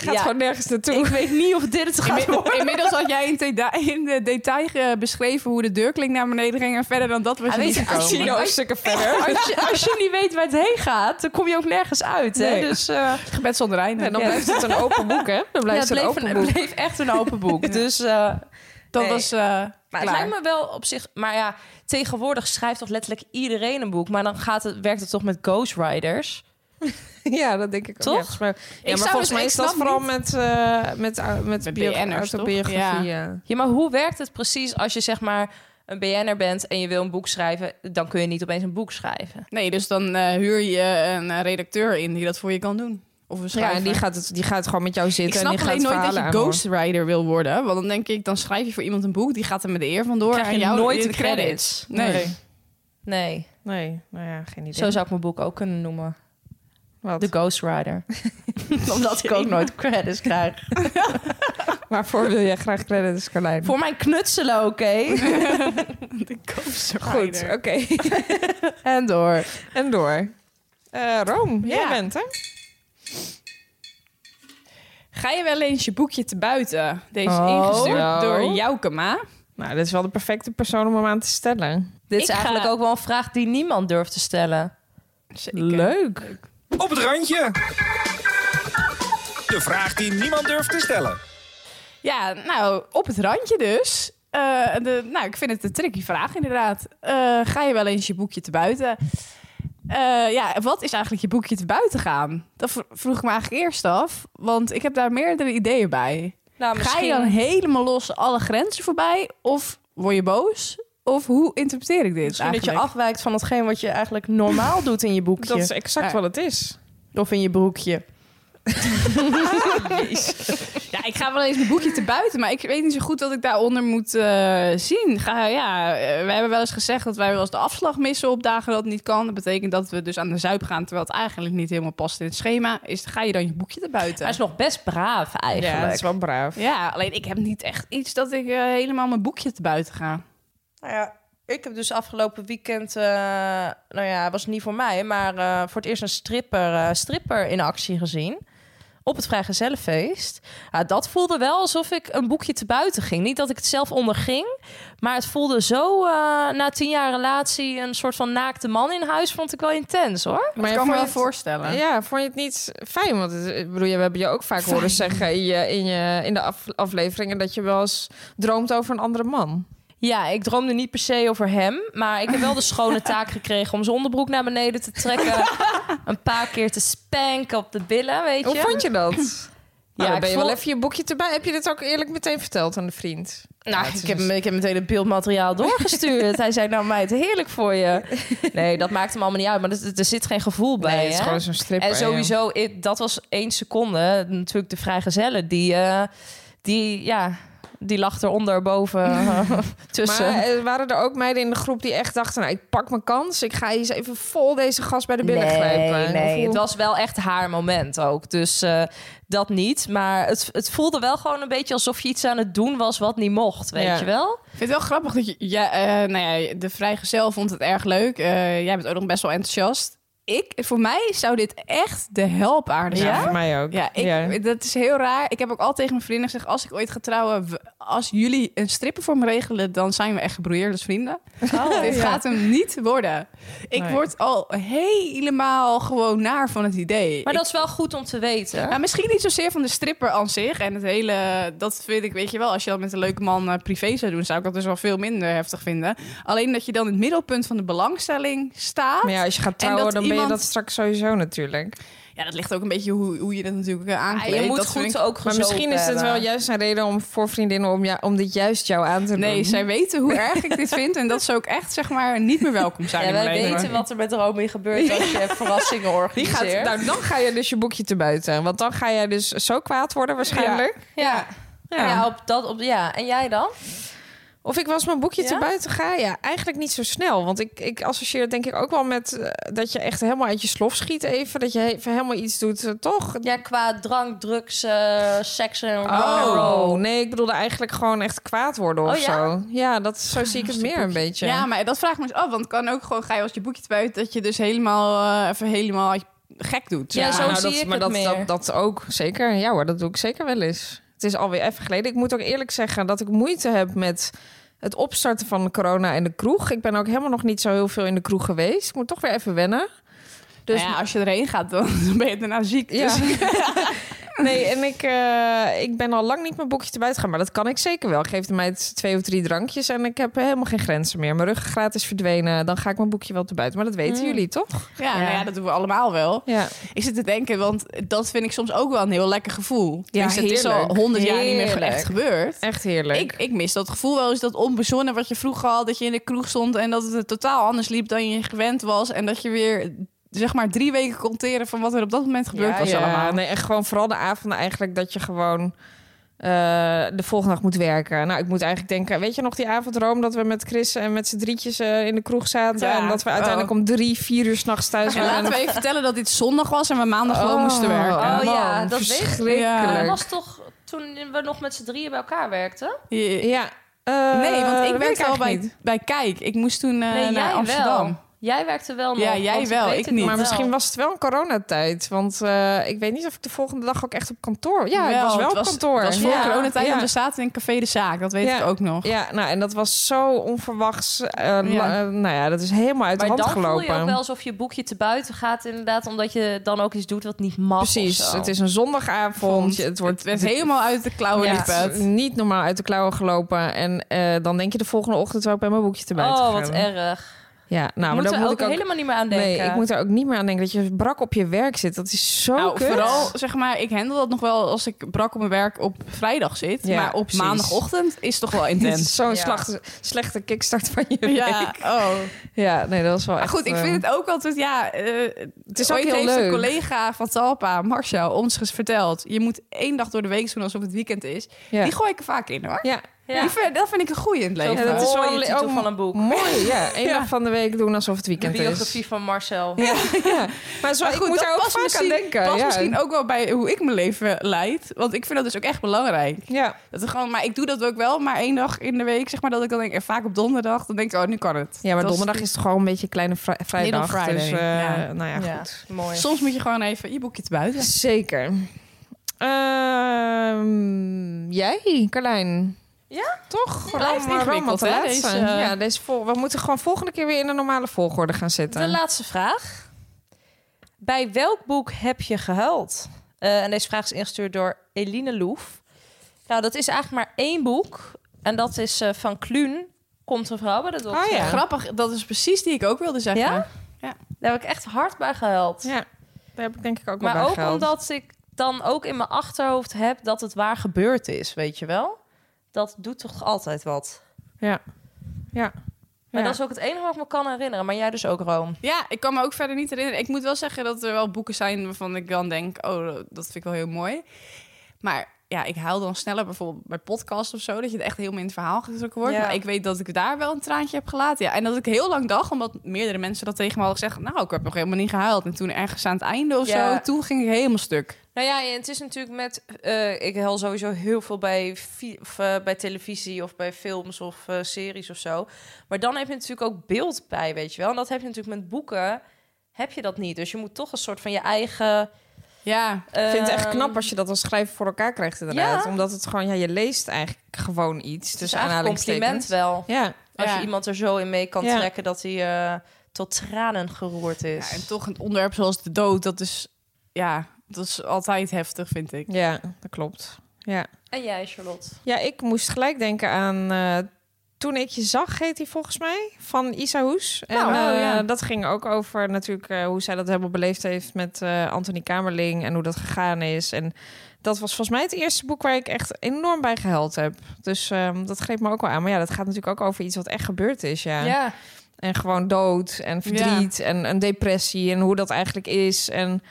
S6: Gaat
S4: ja,
S6: gewoon nergens naartoe.
S4: Ik weet niet of dit het gaat worden.
S5: Inmi- Inmiddels had jij in, teda- in de detail eh, beschreven hoe de deurkling naar beneden ging. En verder dan dat was
S4: Ah,
S5: je
S4: weet
S5: niet
S4: je, als
S5: gekomen.
S4: je-
S6: Casino stukken verder.
S4: Als je, als je niet weet waar het heen gaat, dan kom je ook nergens uit. Hè?
S5: Nee.
S4: Dus, eh,
S5: Gebed zonder einde.
S6: En dan
S4: Ja.
S6: blijft het een open boek, hè? Dan blijft
S4: ja,
S6: het een
S4: het
S6: open
S4: bleef, een-
S6: boek.
S4: bleef echt een open boek. Dus eh,
S5: dat
S4: nee.
S5: was eh,
S4: maar
S5: klaar.
S4: het lijkt me wel op zich. Maar ja, tegenwoordig schrijft toch letterlijk iedereen een boek. Maar dan gaat het, werkt het toch met ghostwriters.
S6: Ja, dat denk ik ook.
S4: Toch?
S6: Ja, volgens mij, ja, maar
S4: zou
S6: volgens
S4: het-
S6: mij
S4: ik
S6: is dat
S4: snap
S6: vooral met, eh met, au- met,
S5: Met
S6: bio-
S5: BN'ers, toch?
S6: autobiografie.
S5: Ja.
S6: ja.
S4: Ja, maar hoe werkt het precies als je zeg maar een BN'er bent en je wil een boek schrijven? Dan kun je niet opeens een boek schrijven.
S5: Nee, dus dan eh, huur je een eh, redacteur in die dat voor je kan doen. Of een
S6: Ja,
S5: schrijver.
S6: en die gaat, het, die gaat gewoon met jou
S5: ik
S6: zitten.
S5: snap
S6: en die
S5: alleen
S6: gaat
S5: nooit dat je
S6: verhalen aanhoren.
S5: ghostwriter wil worden. Want dan denk ik, dan schrijf je voor iemand een boek. Die gaat er met de eer vandoor.
S4: Krijg
S5: en
S4: je
S5: jou
S4: nooit
S5: de
S4: de credits.
S5: Nee.
S6: Nee.
S4: Nee,
S6: Nee, nou ja, geen idee.
S4: zo zou ik mijn boek ook kunnen noemen.
S6: Wat?
S4: De Ghost Rider. Omdat ik ook nooit credits krijg.
S6: Waarvoor wil jij graag credits, Carlijn?
S4: Voor mijn knutselen, oké?
S5: De ghostwriter.
S6: Goed, oké.
S4: en door.
S6: en door. Eh Rome, jij
S5: Ja.
S6: bent, hè?
S5: Ga je wel eens je boekje te buiten? Deze is
S4: Oh.
S5: ingestuurd
S6: Nou.
S5: door Joukema.
S6: Nou, dit is wel de perfecte persoon om hem aan te stellen.
S4: Dit
S5: Ik
S4: is
S5: ga-
S4: eigenlijk ook wel een vraag die niemand durft te stellen.
S5: eh,
S4: Nou,
S6: Leuk.
S3: Op het randje. De vraag die niemand durft te stellen.
S5: Ja, nou, op het randje dus. Eh, de, nou, ik vind het een tricky vraag inderdaad. Eh, ga je wel eens je boekje te buiten? Eh, ja, wat is eigenlijk je boekje te buiten gaan? Dat vro- vroeg ik me eigenlijk eerst af, want ik heb daar meerdere ideeën bij.
S4: Nou,
S5: Ga je dan helemaal los alle grenzen voorbij? Of word je boos? Of hoe interpreteer ik dit
S4: dat je
S5: eigenlijk?
S4: afwijkt van hetgeen wat je eigenlijk normaal doet in je boekje.
S6: Dat is exact
S5: Ja.
S6: wat het is.
S4: Of in je broekje.
S5: Ja, ik ga wel eens mijn boekje te buiten, maar ik weet niet zo goed wat ik daaronder moet eh, zien. Ga, ja, eh, we hebben wel eens gezegd dat wij wel eens de afslag missen op dagen dat het niet kan. Dat betekent dat we dus aan de zuip gaan, terwijl het eigenlijk niet helemaal past in het schema. Is, ga je dan je boekje te buiten?
S4: Hij is nog best braaf eigenlijk.
S6: Ja, dat is wel braaf.
S5: Ja, alleen ik heb niet echt iets dat ik eh, helemaal mijn boekje te buiten ga.
S7: Nou ja, ik heb dus afgelopen weekend, eh, nou ja, was niet voor mij, maar eh, voor het eerst een stripper, eh, stripper in actie gezien. Op het Vrijgezellenfeest. Ja, dat voelde wel alsof ik een boekje te buiten ging. Niet dat ik het zelf onderging. Maar het voelde zo eh, na tien jaar relatie een soort van naakte man in huis. Vond ik wel intens hoor.
S5: ik kan me
S6: Maar vond
S5: wel
S6: je het-
S5: voorstellen.
S6: Ja, vond je het niet fijn? Want het- ik bedoel, we hebben je ook vaak horen zeggen in, je, in, je, in de af- afleveringen dat je wel eens droomt over een andere man.
S4: Ja, ik droomde niet per se over hem. Maar ik heb wel de schone taak gekregen om zijn onderbroek naar beneden te trekken. een paar keer te spanken op de billen, weet je.
S6: Hoe vond je dat? ja,
S4: ik
S6: Nou, ben je wel
S4: vond-
S6: even je boekje erbij. Heb je dit ook eerlijk meteen verteld aan de vriend?
S4: Nou,
S6: Ja, het
S4: ik,
S6: is dus-
S4: heb,
S6: een-
S4: hem- ik heb meteen het beeldmateriaal doorgestuurd. Hij zei, nou meid, heerlijk voor je. Nee, dat maakt hem allemaal niet uit. Maar er, er zit geen gevoel bij,
S6: nee, het is
S4: hè?
S6: gewoon zo'n stripper.
S4: En sowieso, i- dat was één seconde. Natuurlijk de vrijgezellen, die, eh, die, ja, die lag eronder, boven, tussen.
S6: Maar eh, waren er ook meiden in de groep die echt dachten... nou, ik pak mijn kans. Ik ga eens even vol deze gas bij de billen grijpen. Of
S4: Nee,
S6: hoe-
S4: het was wel echt haar moment ook. Dus eh, dat niet. Maar het, het voelde wel gewoon een beetje alsof je iets aan het doen was wat niet mocht, weet
S6: Ja.
S4: je wel?
S5: Ik vind het wel grappig dat je... Ja, eh, nou ja, de vrijgezel vond het erg leuk. Eh, jij bent ook nog best wel enthousiast. Ik, voor mij zou dit echt de helpaarde zijn.
S6: Ja, voor mij ook.
S5: Ja, ik,
S6: Ja.
S5: dat is heel raar. Ik heb ook al tegen mijn vrienden gezegd... als ik ooit ga trouwen, w- als jullie een strippen voor me regelen... dan zijn we echt gebroeierd als vrienden.
S4: Oh,
S5: Dit gaat hem niet worden. Ik
S6: Nee.
S5: word al helemaal gewoon naar van het idee.
S4: Maar
S5: Ik-
S4: dat is wel goed om te weten.
S5: nou, misschien niet zozeer van de stripper aan zich. En het hele, dat vind ik, weet je wel, als je dat met een leuke man eh, privé zou doen, zou ik dat dus wel veel minder heftig vinden. Alleen dat je dan in het middelpunt van de belangstelling staat.
S6: Maar ja, als je gaat trouwen,
S5: dat
S6: dan ben je
S5: iemand-
S6: dat straks sowieso natuurlijk.
S5: Ja, dat ligt ook een beetje hoe, hoe je dat natuurlijk eh,
S4: Ah,
S5: aankleedt.
S4: je moet
S5: dat
S4: goed
S5: vind ik-
S4: ook
S6: Maar
S4: gezopen
S6: misschien is het
S4: hebben.
S6: wel juist een reden om voor vriendinnen om, ja, om dit juist jou aan te doen.
S5: Nee, zij weten hoe erg ik dit vind. En dat zou ik echt, zeg maar, niet meer welkom zijn
S4: Ja,
S5: in mijn
S4: wij
S5: leven.
S4: weten wat er met Romy gebeurt als je verrassingen
S6: Die gaat,
S4: organiseert.
S6: nou, dan ga je dus je boekje te buiten. Want dan ga jij dus zo kwaad worden waarschijnlijk.
S4: ja. Ja.
S6: Ja.
S4: op dat, op, ja, en jij dan?
S6: Of ik was mijn boekje
S4: Ja?
S6: te buiten ga. Ja, eigenlijk niet zo snel. Want ik, ik associeer het denk ik ook wel met eh, dat je echt helemaal uit je slof schiet even. Dat je he- even helemaal iets doet, eh, toch?
S4: Ja, qua drank, drugs, eh, seks en
S6: Oh,
S4: rock'n'roll.
S6: nee, ik bedoelde eigenlijk gewoon echt kwaad worden of
S4: Oh, ja?
S6: zo. Ja, dat, zo zie ik het meer een beetje.
S5: Ja, maar dat vraag ik me eens af. Want het kan ook gewoon, ga je als je boekje te buiten, dat je dus helemaal, eh, even helemaal gek doet.
S4: Ja, zo zie
S6: dat,
S4: ik
S6: maar
S4: het
S6: dat,
S4: meer.
S6: Dat, dat ook zeker. Ja hoor, dat doe ik zeker wel eens. Het is alweer even geleden. Ik moet ook eerlijk zeggen dat ik moeite heb met het opstarten van corona in de kroeg. Ik ben ook helemaal nog niet zo heel veel in de kroeg geweest. Ik moet toch weer even wennen.
S5: Dus ja, als je erheen gaat, dan ben je daarna ziek.
S6: Ja.
S5: Dus
S6: nee, en ik, eh, ik ben al lang niet mijn boekje te buiten gaan. Maar dat kan ik zeker wel. Geef mij het twee of drie drankjes en ik heb helemaal geen grenzen meer. Mijn ruggengraat is verdwenen. Dan ga ik mijn boekje wel te buiten. Maar dat weten
S4: Mm.
S6: jullie toch?
S5: ja, nou ja, dat doen we allemaal wel.
S6: Ja.
S5: Ik zit te denken, want dat vind ik soms ook wel een heel lekker gevoel.
S6: Ja,
S5: dus het is al
S6: heerlijk.
S5: honderd jaar niet meer ge-
S6: Heerlijk.
S5: echt gebeurd.
S6: Echt heerlijk.
S5: Ik, ik mis dat gevoel wel eens, dat onbezonnen wat je vroeger had, dat je in de kroeg stond en dat het totaal anders liep dan je gewend was. En dat je weer, zeg maar, drie weken kon teren van wat er op dat moment gebeurd was allemaal.
S6: Nee, en gewoon vooral de avonden eigenlijk dat je gewoon eh, de volgende dag moet werken. Nou, ik moet eigenlijk denken, weet je nog die avondroom dat we met Chris en met z'n drietjes eh, in de kroeg zaten
S5: Ja. Oh.
S6: en dat we uiteindelijk om drie, vier uur s'nachts thuis
S5: En
S6: waren.
S5: laten we even vertellen dat dit zondag was en we maandag gewoon moesten werken.
S4: Oh, ja,
S6: man,
S4: dat weet ik.
S5: Ja.
S6: verschrikkelijk.
S4: Dat was toch toen we nog met z'n drieën bij elkaar werkten?
S5: Je-
S6: Ja. eh,
S5: nee, want ik werkte
S6: dat weet
S5: al
S6: eigenlijk
S5: bij, bij Kijk. Ik moest toen eh,
S4: nee,
S5: naar
S4: jij
S5: Amsterdam.
S4: wel. Jij werkte wel nog.
S5: Ja, jij
S4: want
S5: wel,
S4: weet
S5: ik
S4: het
S5: niet.
S6: Maar
S4: nog
S6: misschien
S4: wel.
S6: was het wel een coronatijd. Want eh, ik weet niet of ik de volgende dag ook echt op kantoor... Ja, ik
S5: Wel,
S6: was wel
S5: het
S6: op kantoor.
S5: Het was voor
S6: ja.
S5: coronatijd,
S6: ja.
S5: want we zaten in Café de Zaak. Dat weet
S6: Ja.
S5: ik ook nog.
S6: Ja, nou, en dat was zo onverwachts. eh, la-
S5: Ja.
S6: eh, nou ja, dat is helemaal uit
S4: maar
S6: de hand
S4: dan
S6: gelopen.
S4: voel je ook wel alsof je boekje te buiten gaat, inderdaad, omdat je dan ook iets doet wat niet mag. of
S6: Precies,
S4: zo.
S6: het is een zondagavond. Het wordt
S5: werd helemaal uit de klauwen
S6: Ja,
S5: liep
S6: het is
S5: het.
S6: niet normaal uit de klauwen gelopen. En eh, dan denk je de volgende ochtend wel bij mijn boekje te buiten
S4: Oh,
S6: gaan.
S4: wat erg.
S6: Ja, nou, maar
S4: moet
S6: dat
S4: er
S6: moet
S4: ook,
S6: ik ook...
S4: helemaal niet meer aan denken.
S6: Nee, ik moet er ook niet meer aan denken dat je brak op je werk zit. Dat is zo
S5: Nou,
S6: Oh, kut.
S5: vooral zeg maar, ik handel dat nog wel als ik brak op mijn werk op vrijdag zit.
S6: Ja,
S5: maar op
S6: precies.
S5: maandagochtend is het toch wel
S6: Dit
S5: intens.
S6: is zo'n
S4: Ja.
S6: slacht- slechte kickstart van je
S5: ja,
S6: week.
S5: oh.
S6: Ja, nee, dat is wel
S5: Maar
S6: echt...
S5: goed, ik
S6: eh,
S5: vind het ook altijd, ja... eh het
S6: is ook heel
S5: heeft een
S6: leuk.
S5: collega van Talpa, Marcel, ons eens verteld... je moet één dag door de week doen alsof het weekend is.
S6: Ja.
S5: Die gooi ik er vaak in, hoor.
S6: Ja,
S4: Ja.
S5: Die vind- dat vind ik een goeie in het leven.
S4: Ja, dat is wel
S6: Mooi,
S4: een
S6: het
S4: titel
S6: ook-
S4: van een boek.
S6: mooi. Ja, één
S5: Ja.
S6: dag van de week doen alsof het
S4: De
S6: weekend is.
S4: biografie van Marcel.
S6: Ja, maar zo,
S5: Maar
S6: ik moet
S5: dat
S6: daar ook
S5: past
S6: vaak aan
S5: misschien-
S6: denken.
S5: past
S6: ja.
S5: misschien ook wel bij hoe ik mijn leven leid. Want ik vind dat dus ook echt belangrijk.
S6: Ja,
S5: Dat er gewoon, maar ik doe dat ook wel, maar één dag in de week, zeg maar, dat ik dan denk, en vaak op donderdag, dan denk ik, oh, nu kan het.
S6: ja maar
S5: Dat
S6: donderdag is het gewoon een beetje een kleine vri- vrijdag.
S5: Friday,
S6: Dus, eh,
S5: ja.
S6: nou ja,
S7: Ja,
S6: goed.
S7: mooi.
S5: Soms moet je gewoon even je boekje te buiten.
S6: Zeker. Ehm, jij, Carlijn? Ja? Toch?
S5: Blijft
S6: Allemaal
S5: ingewikkeld,
S6: allemaal
S5: hè,
S6: te laat
S5: deze,
S6: zijn.
S5: eh.
S6: ja, deze vol- we moeten gewoon volgende keer weer in de normale volgorde gaan zitten.
S4: De laatste vraag. Bij welk boek heb je gehuild? Eh, en deze vraag is ingestuurd door Eline Loef. Nou, dat is eigenlijk maar één boek. En dat is eh, van Kluun, Komt een vrouw bij de dokter.
S6: Ah, ja.
S5: Grappig, dat is precies die ik ook wilde zeggen.
S4: Ja? Daar heb ik echt hard bij gehuild.
S6: ja, daar heb ik denk ik ook wel
S4: maar
S6: bij
S4: ook
S6: gehaald.
S4: omdat ik dan ook in mijn achterhoofd heb dat het waar gebeurd is, weet je wel? Dat doet toch altijd wat?
S6: Ja. Ja.
S4: Maar
S6: Ja.
S4: dat is ook het enige wat ik me kan herinneren. Maar jij dus ook, Room.
S5: Ja, ik kan me ook verder niet herinneren. Ik moet wel zeggen dat er wel boeken zijn waarvan ik dan denk, oh, dat vind ik wel heel mooi. Maar ja, ik huil dan sneller bijvoorbeeld bij podcasts of zo, dat je het echt heel min in het verhaal getrokken wordt.
S4: Ja.
S5: Maar ik weet dat ik daar wel een traantje heb gelaten. Ja. En dat ik heel lang dacht, omdat meerdere mensen dat tegen me hadden gezegd, nou, ik heb nog helemaal niet gehuild. En toen ergens aan het einde of
S4: Ja.
S5: zo, toen ging ik helemaal stuk.
S4: Nou ja, het is natuurlijk met... eh, ik hel sowieso heel veel bij, fi- of, eh, bij televisie of bij films of eh, series of zo. Maar dan heb je natuurlijk ook beeld bij, weet je wel. En dat heb je natuurlijk met boeken, heb je dat niet. Dus je moet toch een soort van je eigen...
S5: Ja,
S6: Ik vind het echt
S4: ehm,
S6: knap als je dat als schrijver voor elkaar krijgt inderdaad.
S4: Ja.
S6: Omdat het gewoon, ja, je leest eigenlijk gewoon iets.
S4: Het is
S6: Dus
S4: eigenlijk een compliment
S6: aanhalingstekens.
S4: wel.
S6: Ja.
S4: Als
S5: Ja.
S4: je iemand er zo in mee kan
S6: Ja.
S4: trekken dat hij eh, tot tranen geroerd is.
S5: Ja, en toch een onderwerp zoals de dood, dat is, ja, dat is altijd heftig, vind ik.
S6: ja, dat klopt. Ja.
S4: En jij, Charlotte?
S6: Ja, ik moest gelijk denken aan eh, Toen ik je zag, heet hij volgens mij, van Isa Hoes. En
S5: Nou, oh,
S6: eh,
S5: ja.
S6: dat ging ook over natuurlijk eh, hoe zij dat helemaal beleefd heeft met eh Anthony Kamerling en hoe dat gegaan is. En dat was volgens mij het eerste boek waar ik echt enorm bij gehuild heb. Dus ehm, dat greep me ook wel aan. Maar ja, dat gaat natuurlijk ook over iets wat echt gebeurd is, ja. En gewoon dood en verdriet en een depressie en hoe dat eigenlijk is. En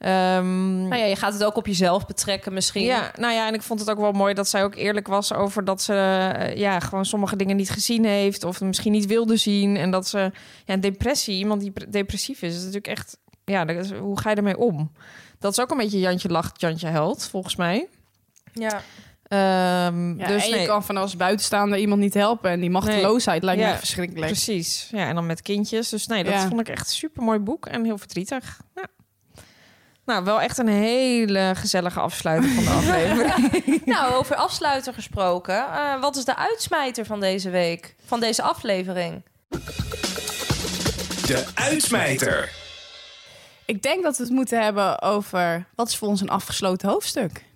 S6: ehm,
S4: Nou ja, je gaat het ook op jezelf betrekken misschien.
S6: ja, nou ja, en ik vond het ook wel mooi dat zij ook eerlijk was over dat ze eh, ja, gewoon sommige dingen niet gezien heeft of misschien niet wilde zien. En dat ze, ja, een depressie, iemand die pre- depressief is, is natuurlijk echt, ja, dat is- hoe ga je ermee om? Dat is ook een beetje Jantje lacht, Jantje huilt, volgens mij.
S4: Ja.
S6: Ehm,
S5: Ja,
S6: dus
S5: en je
S6: nee,
S5: kan van als buitenstaander iemand niet helpen. En die machteloosheid lijkt
S6: Ja.
S5: me echt verschrikkelijk.
S6: precies. Ja, en dan met kindjes. Dus nee, dat
S5: Ja.
S6: vond ik echt een super mooi boek en heel verdrietig. Ja. Nou, wel echt een hele gezellige afsluiting van de aflevering.
S4: Nou, over afsluiten gesproken. eh, wat is de uitsmijter van deze week? Van deze aflevering?
S3: De uitsmijter.
S5: Ik denk dat we het moeten hebben over wat is voor ons een afgesloten hoofdstuk.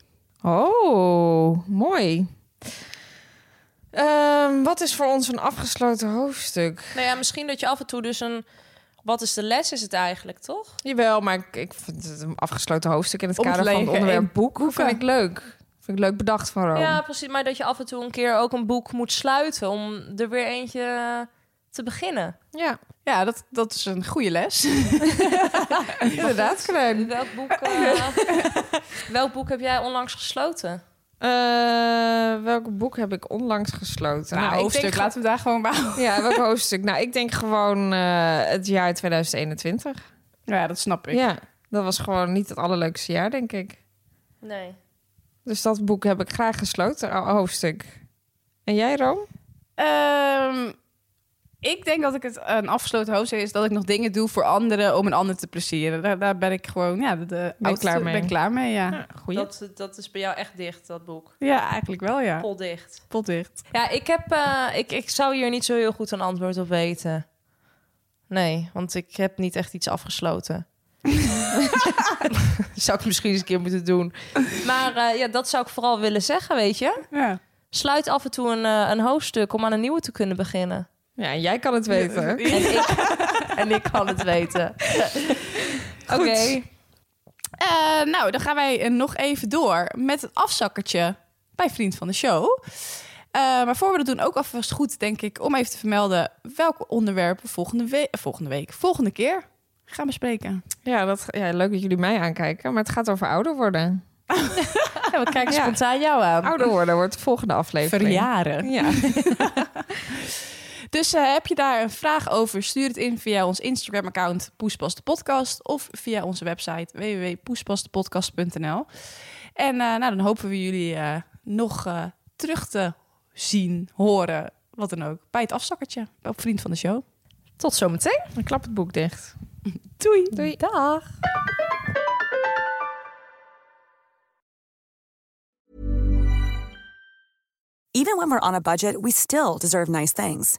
S6: Oh, mooi. Ehm, wat is voor ons een afgesloten hoofdstuk?
S4: Nou ja, misschien dat je af en toe dus een... Wat is de les is het eigenlijk, toch?
S6: Jawel, maar ik, ik vind het een afgesloten hoofdstuk in het
S5: Om het
S6: kader van het
S5: leger
S6: onderwerp
S5: in
S6: boek. Hoe
S5: boeken.
S6: vind ik leuk? Vind ik leuk bedacht van Rome.
S4: Ja, precies. Maar dat je af en toe een keer ook een boek moet sluiten... om er weer eentje eh, te beginnen.
S6: Ja,
S5: Ja, dat, dat is een goede les.
S6: inderdaad, Carlijn.
S4: Welk boek, eh, welk boek heb jij onlangs gesloten?
S6: Eh, welk boek heb ik onlangs gesloten?
S5: nou,
S6: ik
S5: hoofdstuk,
S6: denk
S5: laten we daar gewoon bij houden.
S6: gewoon- Ja, welk hoofdstuk? Nou, ik denk gewoon eh, het jaar 2021.
S5: Ja, dat snap ik.
S6: Ja, dat was gewoon niet het allerleukste jaar, denk ik.
S4: Nee.
S6: Dus dat boek heb ik graag gesloten, ho- hoofdstuk. En jij, Room?
S5: Ehm, ik denk dat ik het een afgesloten hoofdstuk is dat ik nog dingen doe voor anderen om een ander te plezieren. Daar, daar ben ik gewoon, ja, de, de oudste-
S6: klaar mee?
S5: Ben ik klaar mee, ja. Ja,
S6: Ja, goeie.
S4: Dat, dat is bij jou echt dicht, dat boek.
S5: eigenlijk wel, ja.
S4: Poldicht.
S5: Potdicht.
S4: Ja, ik, heb, eh, ik, ik zou hier niet zo heel goed een antwoord op weten. Nee, want ik heb niet echt iets afgesloten. zou ik misschien eens een keer moeten doen. Maar eh, ja, dat zou ik vooral willen zeggen, weet je.
S5: Ja.
S4: Sluit af en toe een, eh, een hoofdstuk om aan een nieuwe te kunnen beginnen.
S6: Ja, jij kan het weten.
S7: En ik, en ik kan het weten.
S6: Goed.
S5: Eh, nou, dan gaan wij eh, nog even door met het afzakkertje bij Vriend van de Show. Eh, maar voor we dat doen, ook alvast goed, denk ik, om even te vermelden welke onderwerpen volgende, we- eh, volgende week, volgende keer gaan bespreken.
S6: Ja, dat, ja, leuk dat jullie mij aankijken, maar het gaat over ouder worden.
S7: Ja, we kijken spontaan jou aan.
S6: Ouder worden wordt de volgende aflevering.
S5: Verjaren.
S6: Ja.
S5: Dus eh, heb je daar een vraag over, stuur het in via ons Instagram-account Poespas de Podcast of via onze website www.poespasdepodcast.nl. En eh, nou, dan hopen we jullie eh, nog eh, terug te zien, horen, wat dan ook, bij het afzakkertje op Vriend van de Show.
S7: Tot zometeen.
S6: Dan klap het boek dicht.
S5: Doei!
S7: Doei. Dag.
S8: Even when we're on a budget, we still deserve nice things.